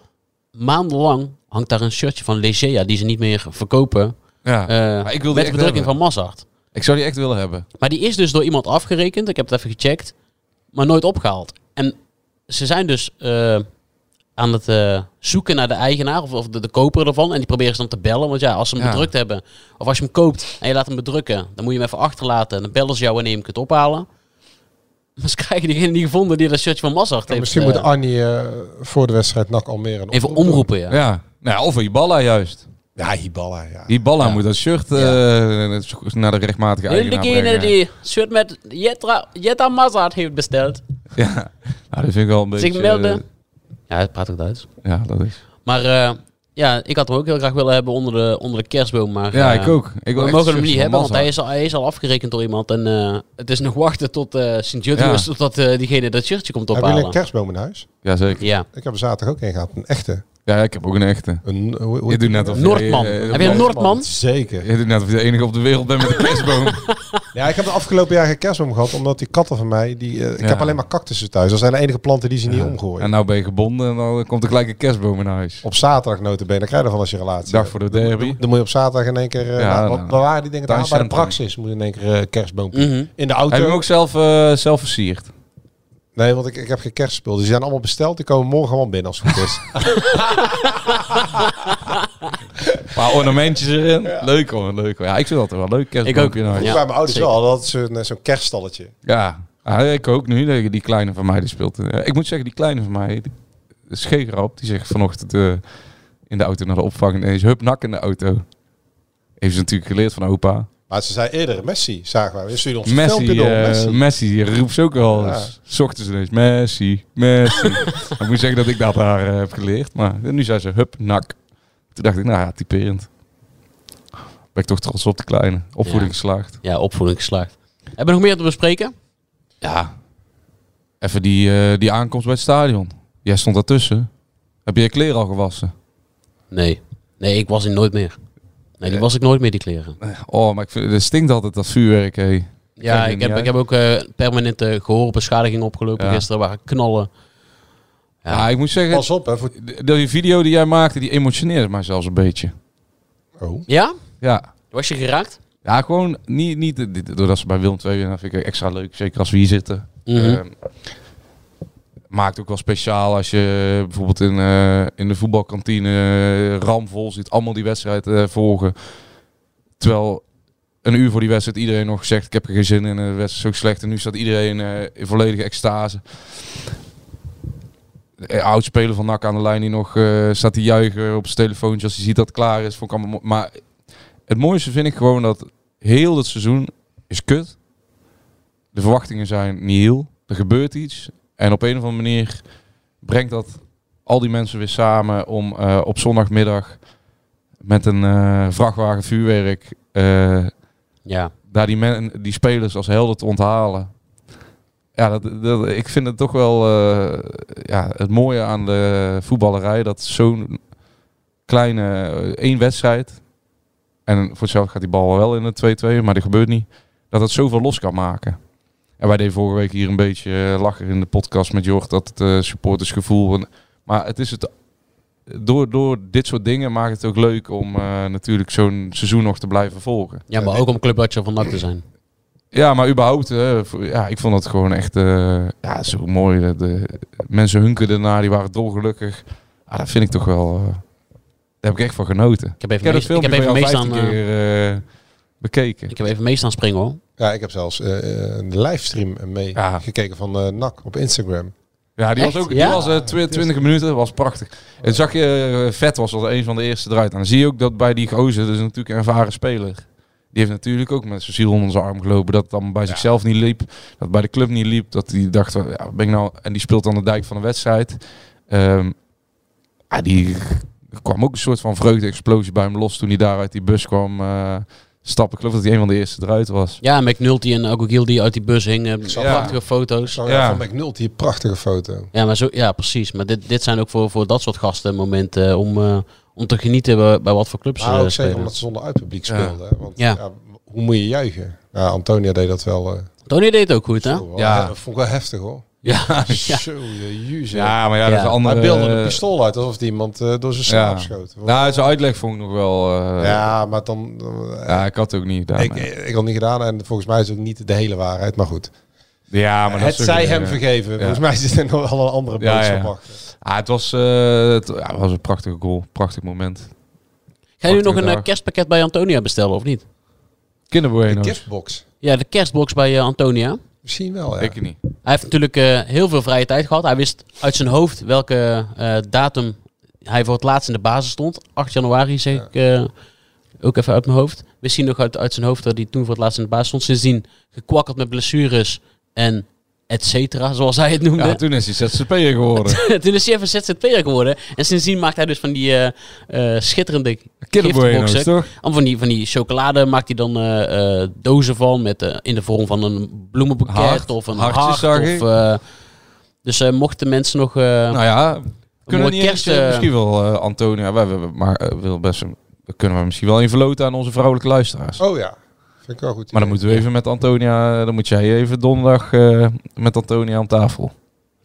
[SPEAKER 6] maandenlang hangt daar een shirtje van Legea die ze niet meer verkopen
[SPEAKER 7] Ja.
[SPEAKER 6] eh,
[SPEAKER 7] maar ik wil
[SPEAKER 6] met
[SPEAKER 7] die
[SPEAKER 6] de
[SPEAKER 7] echt
[SPEAKER 6] bedrukking
[SPEAKER 7] hebben.
[SPEAKER 6] van Mazart.
[SPEAKER 7] Ik zou die echt willen hebben.
[SPEAKER 6] Maar die is dus door iemand afgerekend. Ik heb het even gecheckt. Maar nooit opgehaald. En ze zijn dus eh, aan het eh, zoeken naar de eigenaar of, of de, de koper ervan. En die proberen ze dan te bellen. Want ja, als ze hem
[SPEAKER 7] Ja.
[SPEAKER 6] bedrukt hebben. Of als je hem koopt en je laat hem bedrukken. Dan moet je hem even achterlaten. En dan bellen ze jou wanneer je hem kunt ophalen. [LAUGHS] Maar ze krijgen diegene niet gevonden die dat shirtje van Massart
[SPEAKER 8] Ja,
[SPEAKER 6] heeft.
[SPEAKER 8] misschien
[SPEAKER 6] eh,
[SPEAKER 8] moet Annie eh, voor de wedstrijd NAC Almere een
[SPEAKER 6] even
[SPEAKER 8] oproep
[SPEAKER 6] omroepen, ja.
[SPEAKER 7] Ja. Nou, ja, of Iballa juist.
[SPEAKER 8] doen. Ja, Hiballa, ja.
[SPEAKER 7] Iballa moet dat shirt eh, naar de rechtmatige
[SPEAKER 6] Heel
[SPEAKER 7] eigenaar
[SPEAKER 6] Degene
[SPEAKER 7] brengen.
[SPEAKER 6] die shirt met Jetta, Jetta Massart heeft besteld.
[SPEAKER 7] Ja, nou, dat vind ik wel een beetje...
[SPEAKER 6] Zich melden. Ja, het praat ook Duits.
[SPEAKER 7] eh, ja, dat is...
[SPEAKER 6] Maar eh, Ja, ik had hem ook heel graag willen hebben onder de, onder de kerstboom. Maar,
[SPEAKER 7] Ja,
[SPEAKER 6] eh,
[SPEAKER 7] ik ook. Ik wil
[SPEAKER 6] we
[SPEAKER 7] echt
[SPEAKER 6] mogen hem
[SPEAKER 7] chips
[SPEAKER 6] niet
[SPEAKER 7] van
[SPEAKER 6] hebben, want
[SPEAKER 7] Massa.
[SPEAKER 6] hij is, al, hij is al afgerekend door iemand. En eh, het is nog wachten tot eh sint
[SPEAKER 7] Ja.
[SPEAKER 6] Julius, totdat eh, diegene dat shirtje komt
[SPEAKER 8] Hebben jullie een
[SPEAKER 6] ophalen.
[SPEAKER 8] kerstboom in huis?
[SPEAKER 7] Jazeker.
[SPEAKER 6] Ja.
[SPEAKER 8] Ik heb er zaterdag ook een gehad. Een echte.
[SPEAKER 7] Ja, ik heb ook een echte.
[SPEAKER 8] Een, hoe- hoe-
[SPEAKER 7] Je doet net of
[SPEAKER 6] Noordman.
[SPEAKER 7] eh,
[SPEAKER 6] Heb je een Noordman?
[SPEAKER 8] Zeker.
[SPEAKER 7] Je doet net of je de enige op de wereld bent met
[SPEAKER 6] [LAUGHS]
[SPEAKER 7] een kerstboom.
[SPEAKER 8] Ja, ik heb de afgelopen jaar geen kerstboom gehad, omdat die katten van mij, die, eh, ik
[SPEAKER 7] Ja.
[SPEAKER 8] heb alleen maar cactussen thuis. Dat zijn de enige planten die ze niet omgooien.
[SPEAKER 7] en nou ben je gebonden en dan komt er gelijk een kerstboom in huis.
[SPEAKER 8] Op zaterdag notabene, dan krijg je ervan als je relatie
[SPEAKER 7] Dag
[SPEAKER 8] hebt.
[SPEAKER 7] voor de derby.
[SPEAKER 8] Dan moet je op zaterdag in één keer, eh,
[SPEAKER 7] Ja,
[SPEAKER 8] nou,
[SPEAKER 7] nou,
[SPEAKER 8] wat-
[SPEAKER 7] nou.
[SPEAKER 8] waar waren die dingen daar? Bij de
[SPEAKER 7] Tuincentrum.
[SPEAKER 8] praxis moet je in één keer eh, kerstboom
[SPEAKER 6] Mhm.
[SPEAKER 8] in de
[SPEAKER 7] Heb je
[SPEAKER 8] auto.
[SPEAKER 7] hem ook zelf, eh, zelf versierd?
[SPEAKER 8] Nee, want ik, ik heb geen kerstspul. Dus die zijn allemaal besteld. Die komen morgen allemaal binnen als
[SPEAKER 6] [LAUGHS]
[SPEAKER 8] het goed is.
[SPEAKER 7] Een paar ornamentjes erin. Leuk hoor, leuk hoor. Ja, ik vind dat wel leuk, kerstboompje
[SPEAKER 6] Ik
[SPEAKER 7] in
[SPEAKER 6] ook.
[SPEAKER 7] huis.
[SPEAKER 8] Vroeger
[SPEAKER 7] Ja.
[SPEAKER 6] Ja,
[SPEAKER 8] bij mijn ouders
[SPEAKER 6] zeker.
[SPEAKER 8] wel, dat ze een- eh, zo'n kerststalletje.
[SPEAKER 7] Ah, ik ook nu. Die- Die kleine van mij die speelt. eh, ik moet zeggen, die kleine van mij, die is geen grap. Die zegt vanochtend eh, in de auto naar de opvang. En is hup nak in de auto. Heeft ze natuurlijk geleerd van opa.
[SPEAKER 8] Maar ze zei eerder, Messi, zagen wij. We stuurden ons een
[SPEAKER 7] Messi,
[SPEAKER 8] filmpje door.
[SPEAKER 7] eh,
[SPEAKER 8] Messi.
[SPEAKER 7] Messi. die roept ze ook al. eens. S ochtends ineens, Messi,
[SPEAKER 8] [LAUGHS]
[SPEAKER 7] Messi. ik moet zeggen dat ik dat haar eh, heb geleerd. Maar nu zei ze, hup, nak. Toen dacht ik, nou ja, typerend. Ben ik toch trots op de kleine. Opvoeding
[SPEAKER 6] Ja.
[SPEAKER 7] geslaagd.
[SPEAKER 6] Ja, opvoeding geslaagd. Hebben we nog meer te bespreken?
[SPEAKER 7] Ja. Even die, eh, die aankomst bij het stadion. Jij stond daartussen. Heb je je kleren al gewassen?
[SPEAKER 6] Nee. Nee, ik was in nooit meer. Nee,
[SPEAKER 7] Eh.
[SPEAKER 6] die was ik nooit meer, die kleren.
[SPEAKER 7] Oh, maar ik vind, het stinkt altijd dat vuurwerk, hé.
[SPEAKER 6] Ja,
[SPEAKER 7] er
[SPEAKER 6] ik
[SPEAKER 7] niet
[SPEAKER 6] heb, ik
[SPEAKER 7] uit.
[SPEAKER 6] heb ook eh permanente gehoorbeschadiging opgelopen
[SPEAKER 7] Ja.
[SPEAKER 6] gisteren. Er waren knallen.
[SPEAKER 7] Ja. ik moet zeggen,
[SPEAKER 8] Pas op, hè. Voor...
[SPEAKER 7] de- die video die jij maakte, die emotioneerde mij zelfs een beetje.
[SPEAKER 8] Oh.
[SPEAKER 6] Ja?
[SPEAKER 7] Ja.
[SPEAKER 6] Was je geraakt?
[SPEAKER 7] Ja, gewoon niet, niet dit- doordat ze bij Willem 2 winnen, vind ik extra leuk. Zeker als we hier zitten.
[SPEAKER 6] Mhm.
[SPEAKER 7] Ehm, maakt ook wel speciaal als je bijvoorbeeld in, eh, in de voetbalkantine eh, ramvol ziet. Allemaal die wedstrijd eh, volgen. Terwijl een uur voor die wedstrijd iedereen nog zegt, ik heb er geen zin in. De wedstrijd is ook slecht. En nu staat iedereen eh, in volledige extase. Eh, Oudspeler van NAC aan de lijn die nog eh, staat te juichen op zijn telefoontje als hij ziet dat het klaar is. Vond ik allemaal mo- maar het mooiste vind ik gewoon dat heel het seizoen is kut. De verwachtingen zijn niet heel. Er gebeurt iets. En op een of andere manier brengt dat al die mensen weer samen om eh, op zondagmiddag met een eh, vrachtwagen vuurwerk eh,
[SPEAKER 6] Ja.
[SPEAKER 7] daar die, men, die spelers als helden te onthalen. Ja, dat, dat, ik vind het toch wel eh, ja, het mooie aan de voetballerij. Dat zo'n kleine eh, één wedstrijd. En voor hetzelfde gaat die bal wel in de 2-2, maar dat gebeurt niet. Dat het zoveel los kan maken. En wij deden vorige week hier een beetje eh, lachen in de podcast met Jorg. Dat het eh, supportersgevoel. En, maar het is het. Door, door dit soort dingen maakt het ook leuk om eh, natuurlijk zo'n seizoen nog te blijven volgen.
[SPEAKER 6] Ja, maar ook om clubwatcher van NAC te zijn.
[SPEAKER 7] Ja, maar überhaupt, hè, voor- ja, ik vond het gewoon echt eh, ja, zo mooi. De, de- mensen hunkerden ernaar, die waren dolgelukkig. Ah, dat vind ik toch wel... eh, daar heb ik echt van genoten.
[SPEAKER 6] Ik heb even,
[SPEAKER 7] ik heb dat
[SPEAKER 6] meest, ik
[SPEAKER 7] filmpje
[SPEAKER 6] heb
[SPEAKER 7] ik
[SPEAKER 6] even meestaan...
[SPEAKER 7] keer eh, bekeken.
[SPEAKER 6] Ik heb even meestaan springen hoor.
[SPEAKER 8] Ja, ik heb zelfs eh, eh, een livestream mee
[SPEAKER 7] Ja.
[SPEAKER 8] gekeken van eh NAC op Instagram.
[SPEAKER 7] ja, die
[SPEAKER 6] Echt?
[SPEAKER 7] was ook
[SPEAKER 6] Ja? dus-
[SPEAKER 7] die was, eh, twi- 20 minuten, was prachtig. En zag je, eh, Vet was als een van de eerste eruit. En dan zie je ook dat bij die gozer, dat is natuurlijk een ervaren speler. Die heeft natuurlijk ook met zijn ziel onder zijn arm gelopen. Dat het dan bij zichzelf niet liep. Dat het bij de club niet liep. Dat hij dacht, van, ja, wat ben ik nou... En die speelt aan de dijk van de wedstrijd. Ehm, ja, die kwam ook een soort van vreugde-explosie bij hem los toen hij daar uit die bus kwam eh, stappen. Ik geloof dat hij een van de eerste eruit was.
[SPEAKER 6] Ja, McNulty en Ogil die uit die bus hingen.
[SPEAKER 8] zag-
[SPEAKER 6] Prachtige foto's.
[SPEAKER 8] Zo
[SPEAKER 7] Ja.
[SPEAKER 8] van McNulty, hier prachtige foto.
[SPEAKER 6] Ja, maar zo, ja precies. Maar dit, dit zijn ook voor, voor dat soort gasten momenten om, eh, om te genieten bij, bij wat voor clubs
[SPEAKER 8] Maar
[SPEAKER 6] ze
[SPEAKER 8] ook zeker
[SPEAKER 6] spelen.
[SPEAKER 8] Ah, omdat ze zonder uitpubliek
[SPEAKER 7] eh, Ja.
[SPEAKER 8] speelden. hè. Want
[SPEAKER 6] Ja.
[SPEAKER 8] ja. hoe moet je juichen? Ja, Antonia deed dat wel. eh,
[SPEAKER 6] Tony deed het ook goed, hè?
[SPEAKER 8] zo wel.
[SPEAKER 7] Ja.
[SPEAKER 8] Ja. Dat vond ik wel heftig
[SPEAKER 7] [LAUGHS]
[SPEAKER 8] hoor.
[SPEAKER 6] Ja, ja.
[SPEAKER 8] Zo, je juice.
[SPEAKER 7] Ja, maar ja, dat
[SPEAKER 6] Ja.
[SPEAKER 7] is een
[SPEAKER 8] Hij
[SPEAKER 7] andere... eh,
[SPEAKER 8] beelde een pistool uit alsof die iemand eh, door zijn slaap
[SPEAKER 7] Ja.
[SPEAKER 8] schoot. Want-
[SPEAKER 7] Nou, zijn uitleg vond ik nog wel... eh,
[SPEAKER 8] ja, maar dan... eh,
[SPEAKER 7] Ja, ik had het ook niet gedaan.
[SPEAKER 8] ik, eh,
[SPEAKER 7] maar-
[SPEAKER 8] ik had het niet gedaan en volgens mij is het ook niet de hele waarheid, maar goed.
[SPEAKER 7] ja, maar dat
[SPEAKER 8] het
[SPEAKER 7] is ook
[SPEAKER 8] zij
[SPEAKER 7] weer,
[SPEAKER 8] hem
[SPEAKER 7] eh,
[SPEAKER 8] vergeven. Volgens mij zit er nog wel een andere
[SPEAKER 7] Ja,
[SPEAKER 8] boodschap
[SPEAKER 7] ja.
[SPEAKER 8] achter.
[SPEAKER 7] Ah, het was, eh, het ja, het was een prachtige goal. Prachtig moment.
[SPEAKER 6] Ga je nu nog een eh,
[SPEAKER 7] dag.
[SPEAKER 6] kerstpakket bij Antonia bestellen of niet?
[SPEAKER 8] De
[SPEAKER 7] Kinderbueno's.
[SPEAKER 8] giftbox.
[SPEAKER 6] Ja, de kerstbox bij eh, Antonia.
[SPEAKER 8] Misschien wel, ja.
[SPEAKER 7] Ik niet.
[SPEAKER 6] Hij heeft natuurlijk eh, heel veel vrije tijd gehad. Hij wist uit zijn hoofd welke eh, datum hij voor het laatst in de basis stond. 8 januari zeg ik eh, ook even uit mijn hoofd. Wist hij nog uit, uit zijn hoofd dat hij toen voor het laatst in de basis stond. Sindsdien gekwakkeld met blessures en et cetera, zoals hij het noemde.
[SPEAKER 7] Ja, toen is hij ZZP'er geworden.
[SPEAKER 6] [LAUGHS] toen is hij even ZZP'er geworden. En sindsdien maakt hij dus van die eh, eh, schitterende
[SPEAKER 7] Killer Bueno's,
[SPEAKER 6] giftboxen.
[SPEAKER 7] toch?
[SPEAKER 6] Allemaal van die, van die chocolade maakt hij dan eh, eh, dozen van. Met, eh, in de vorm van een bloemenboeket
[SPEAKER 7] Hart.
[SPEAKER 6] of een
[SPEAKER 7] Hartjes,
[SPEAKER 6] hart.
[SPEAKER 7] zag
[SPEAKER 6] of,
[SPEAKER 7] ik.
[SPEAKER 6] eh, dus eh, mochten mensen nog... eh,
[SPEAKER 7] Nou ja, kunnen we
[SPEAKER 6] mooie
[SPEAKER 7] niet
[SPEAKER 6] kerst,
[SPEAKER 7] eens, eh,
[SPEAKER 6] eh,
[SPEAKER 7] misschien wel, eh, Antonia, wij, wij- maar eh, wil best, een- kunnen we misschien wel even verloten aan onze vrouwelijke luisteraars.
[SPEAKER 8] Oh ja, vind ik wel goed.
[SPEAKER 7] Maar dan moeten we even met Antonia, eh, dan moet jij even donderdag eh, met Antonia aan tafel.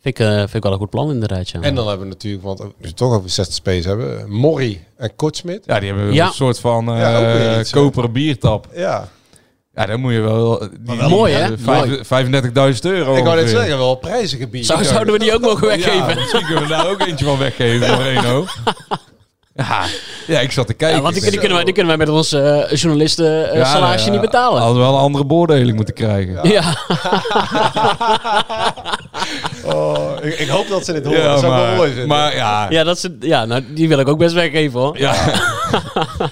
[SPEAKER 6] vind, ik, eh, vind ik wel een goed plan inderdaad, ja.
[SPEAKER 8] En dan hebben we natuurlijk, want we het toch over 60 space hebben, eh, Morrie en Kortsmit.
[SPEAKER 7] Ja, die hebben
[SPEAKER 6] Ja.
[SPEAKER 7] een soort van eh,
[SPEAKER 8] Ja, ook weer iets, hè.
[SPEAKER 7] koperen biertap.
[SPEAKER 8] Ja,
[SPEAKER 7] Ja, dan moet je wel... Die,
[SPEAKER 6] wel mooi, hè?
[SPEAKER 7] eh, vijf- 35.000 euro.
[SPEAKER 8] ik wou net
[SPEAKER 7] ongeveer.
[SPEAKER 8] zeggen, wel prijzige bier.
[SPEAKER 6] Zou, zouden we die ook mogen
[SPEAKER 7] Ja,
[SPEAKER 6] weggeven?
[SPEAKER 7] misschien kunnen we daar ook eentje van weggeven, Moreno.
[SPEAKER 8] [LAUGHS]
[SPEAKER 7] Ja, ja, ik zat te kijken.
[SPEAKER 6] Ja, want die, die kunnen wij, die kunnen wij met ons eh, journalisten eh,
[SPEAKER 7] Ja,
[SPEAKER 6] salarisje
[SPEAKER 7] nou
[SPEAKER 6] niet
[SPEAKER 7] ja,
[SPEAKER 6] betalen.
[SPEAKER 7] Hadden we wel een andere beoordeling moeten krijgen.
[SPEAKER 6] ja.
[SPEAKER 8] Oh, ik, ik hoop dat ze dit horen.
[SPEAKER 7] Ja,
[SPEAKER 8] dat zou wel mooi
[SPEAKER 7] maar,
[SPEAKER 8] zijn.
[SPEAKER 7] maar ja.
[SPEAKER 6] Ja, dat is, het- ja nou, die wil ik ook best weggeven hoor. [LAUGHS]
[SPEAKER 7] ja.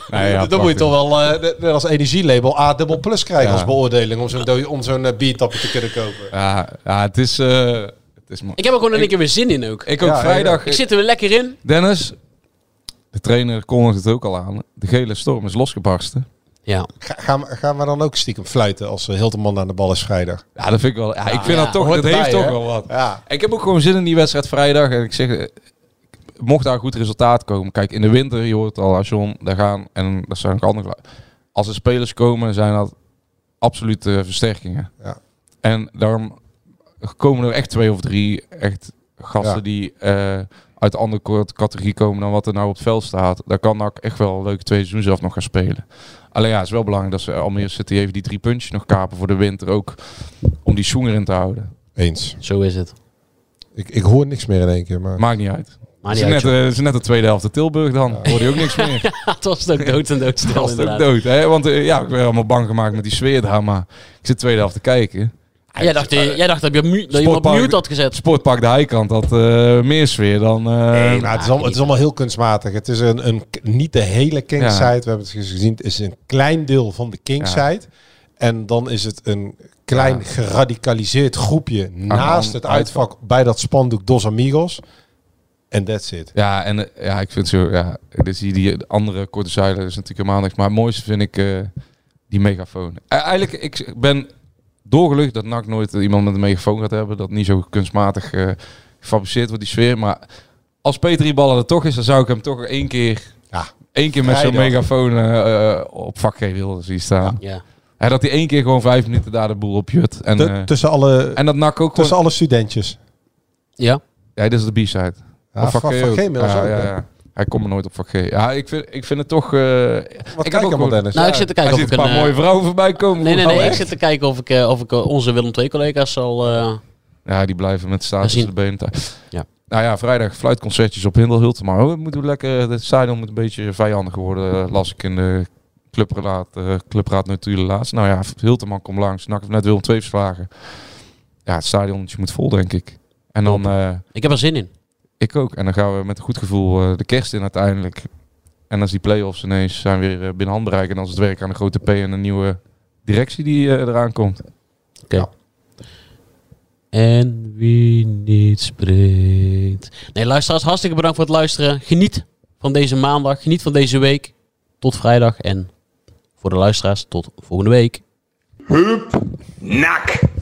[SPEAKER 7] Nee, ja,
[SPEAKER 8] dan moet
[SPEAKER 7] prachtig.
[SPEAKER 8] je toch wel eh, net net als energielabel A dubbel plus krijgen
[SPEAKER 7] Ja.
[SPEAKER 8] als beoordeling om zo'n do- om zo'n eh, biertapje te kunnen kopen.
[SPEAKER 7] Ja, ja het is... eh, het is mooi.
[SPEAKER 6] Ik heb er gewoon in één keer weer zin in ook.
[SPEAKER 7] Ik ook
[SPEAKER 8] Ja,
[SPEAKER 7] vrijdag...
[SPEAKER 6] Ik zit er weer lekker in.
[SPEAKER 7] Dennis, de trainer kondigt het ook al aan. De gele storm is losgebarsten.
[SPEAKER 6] Ja.
[SPEAKER 8] Ga- gaan, we- gaan we dan ook stiekem fluiten als eh, Hilterman aan de bal is vrijdag?
[SPEAKER 7] Ja, dat vind ik wel... Ja, ik vind
[SPEAKER 6] ja.
[SPEAKER 7] dat toch...
[SPEAKER 8] Hoort
[SPEAKER 7] Dat heeft
[SPEAKER 8] erbij,
[SPEAKER 7] toch
[SPEAKER 8] hè?
[SPEAKER 7] wel wat.
[SPEAKER 8] Ja.
[SPEAKER 7] Ik heb ook gewoon zin in die wedstrijd vrijdag. En ik zeg, eh, mocht daar een goed resultaat komen. Kijk, in de winter, je hoort al, Ajon, daar gaan. En dat zijn ook andere. lui. Als er spelers komen, zijn dat absolute versterkingen.
[SPEAKER 8] Ja.
[SPEAKER 7] En daarom komen er echt twee of drie echt gasten
[SPEAKER 8] Ja.
[SPEAKER 7] die eh, uit een andere ko- categorie komen dan wat er nou op het veld staat. Daar kan NAC echt wel een leuke tweede seizoen zelf nog gaan spelen. Alleen ja, het is wel belangrijk dat ze Almere City even die drie puntjes nog kapen voor de winter ook. Om die sjoenger in te houden.
[SPEAKER 8] Eens.
[SPEAKER 6] Zo is het.
[SPEAKER 8] Ik, ik hoor niks meer in één keer, maar...
[SPEAKER 7] Maakt niet uit.
[SPEAKER 6] Maar
[SPEAKER 7] Het
[SPEAKER 6] niet
[SPEAKER 7] is, net,
[SPEAKER 6] uit, joh. [LAUGHS]
[SPEAKER 7] eh, het is net de tweede helft de Tilburg dan. Hoor je ook niks meer.
[SPEAKER 6] Het was ook dood en doodstil
[SPEAKER 7] [LAUGHS] Dat is ook
[SPEAKER 6] inderdaad.
[SPEAKER 7] dood. Hè? Want eh, ja, ik ben helemaal bang gemaakt met die sfeer daar. Maar ik zit de tweede helft te kijken.
[SPEAKER 6] Jij dacht, eh, jij dacht dat, je op mu- dat je hem op
[SPEAKER 7] Sportpark-
[SPEAKER 6] mute had gezet.
[SPEAKER 7] Sportpark de Heikant had eh, meer sfeer dan... eh,
[SPEAKER 8] Nee, maar het, is allemaal, het is allemaal heel kunstmatig. Het is een, een, niet de hele kingside.
[SPEAKER 7] Ja.
[SPEAKER 8] We hebben het gezien. Het is een klein deel van de kingside. En dan is het een klein
[SPEAKER 7] Ja.
[SPEAKER 8] geradicaliseerd groepje
[SPEAKER 7] aan-
[SPEAKER 8] naast het uitvak bij dat spandoek Dos Amigos. En that's it.
[SPEAKER 7] Ja, en eh, ja, ik vind zo... Ja, dus die, die andere korte zeilen is natuurlijk helemaal niks. Maar het mooiste vind ik eh, die megafoon. Eh, eigenlijk, ik ben doorgelucht dat NAC nooit iemand met een megafoon gaat hebben. Dat niet zo kunstmatig eh, gefabriceerd wordt, die sfeer. Maar als Peter Ballen er toch is, dan zou ik hem toch één keer...
[SPEAKER 8] Ja.
[SPEAKER 7] Eén keer met zo'n
[SPEAKER 8] Vrijdag.
[SPEAKER 7] megafoon eh, eh, op vak G wilde zien staan.
[SPEAKER 6] Ja.
[SPEAKER 7] Hè, dat hij één keer gewoon vijf minuten daar de boel op jut. En,
[SPEAKER 8] Tu-
[SPEAKER 7] eh,
[SPEAKER 8] tussen alle,
[SPEAKER 7] en dat nak ook gewoon...
[SPEAKER 8] tussen alle studentjes. Ah,
[SPEAKER 6] Ja.
[SPEAKER 7] Ja, dit is de B-side.
[SPEAKER 8] Ja,
[SPEAKER 7] Op vak
[SPEAKER 8] van-
[SPEAKER 7] G
[SPEAKER 8] van
[SPEAKER 7] ook.
[SPEAKER 8] G inmiddels
[SPEAKER 7] ja,
[SPEAKER 8] ook,
[SPEAKER 7] ja,
[SPEAKER 8] hè?
[SPEAKER 7] ja. Hij komt er nooit op vak G. Ja, ik vind, ik vind het toch... eh
[SPEAKER 8] Wat
[SPEAKER 7] ik
[SPEAKER 8] kijk
[SPEAKER 7] heb ook
[SPEAKER 8] allemaal
[SPEAKER 7] gewoon-
[SPEAKER 8] Dennis?
[SPEAKER 6] Nou, ik zit te
[SPEAKER 7] Hij
[SPEAKER 6] kijken of
[SPEAKER 7] ziet
[SPEAKER 6] ik
[SPEAKER 7] een paar
[SPEAKER 6] een, eh,
[SPEAKER 7] mooie vrouwen voorbij komen.
[SPEAKER 6] Nee, nee,
[SPEAKER 7] Oh,
[SPEAKER 6] nee. Ik
[SPEAKER 7] echt?
[SPEAKER 6] zit te kijken of ik, eh, of ik eh, onze Willem II collega's zal... eh,
[SPEAKER 7] Ja, die blijven met staat tussen de benen. thuis.
[SPEAKER 6] Ja.
[SPEAKER 7] Nou ja, vrijdag fluitconcertjes op Hindel Hultema. Oh, we moeten lekker... Het stadion moet een beetje vijandig worden, eh, las ik in de clubraad, eh clubraad natuurlijk laatst. Nou ja, Hilteman komt langs. Nak heeft net Willem II verslagen. Ja, het stadion moet vol, denk ik. En dan... eh,
[SPEAKER 6] ik heb er zin in.
[SPEAKER 7] ik ook. En dan gaan we met een goed gevoel eh, de kerst in uiteindelijk. En als die play-offs ineens zijn weer eh, binnen handbereik. En als het werk aan de grote P en een nieuwe directie die eh, eraan komt.
[SPEAKER 6] En wie niet spreekt. Nee, luisteraars, hartstikke bedankt voor het luisteren. Geniet van deze maandag. Geniet van deze week. Tot vrijdag. En voor de luisteraars, tot volgende week.
[SPEAKER 3] Nak.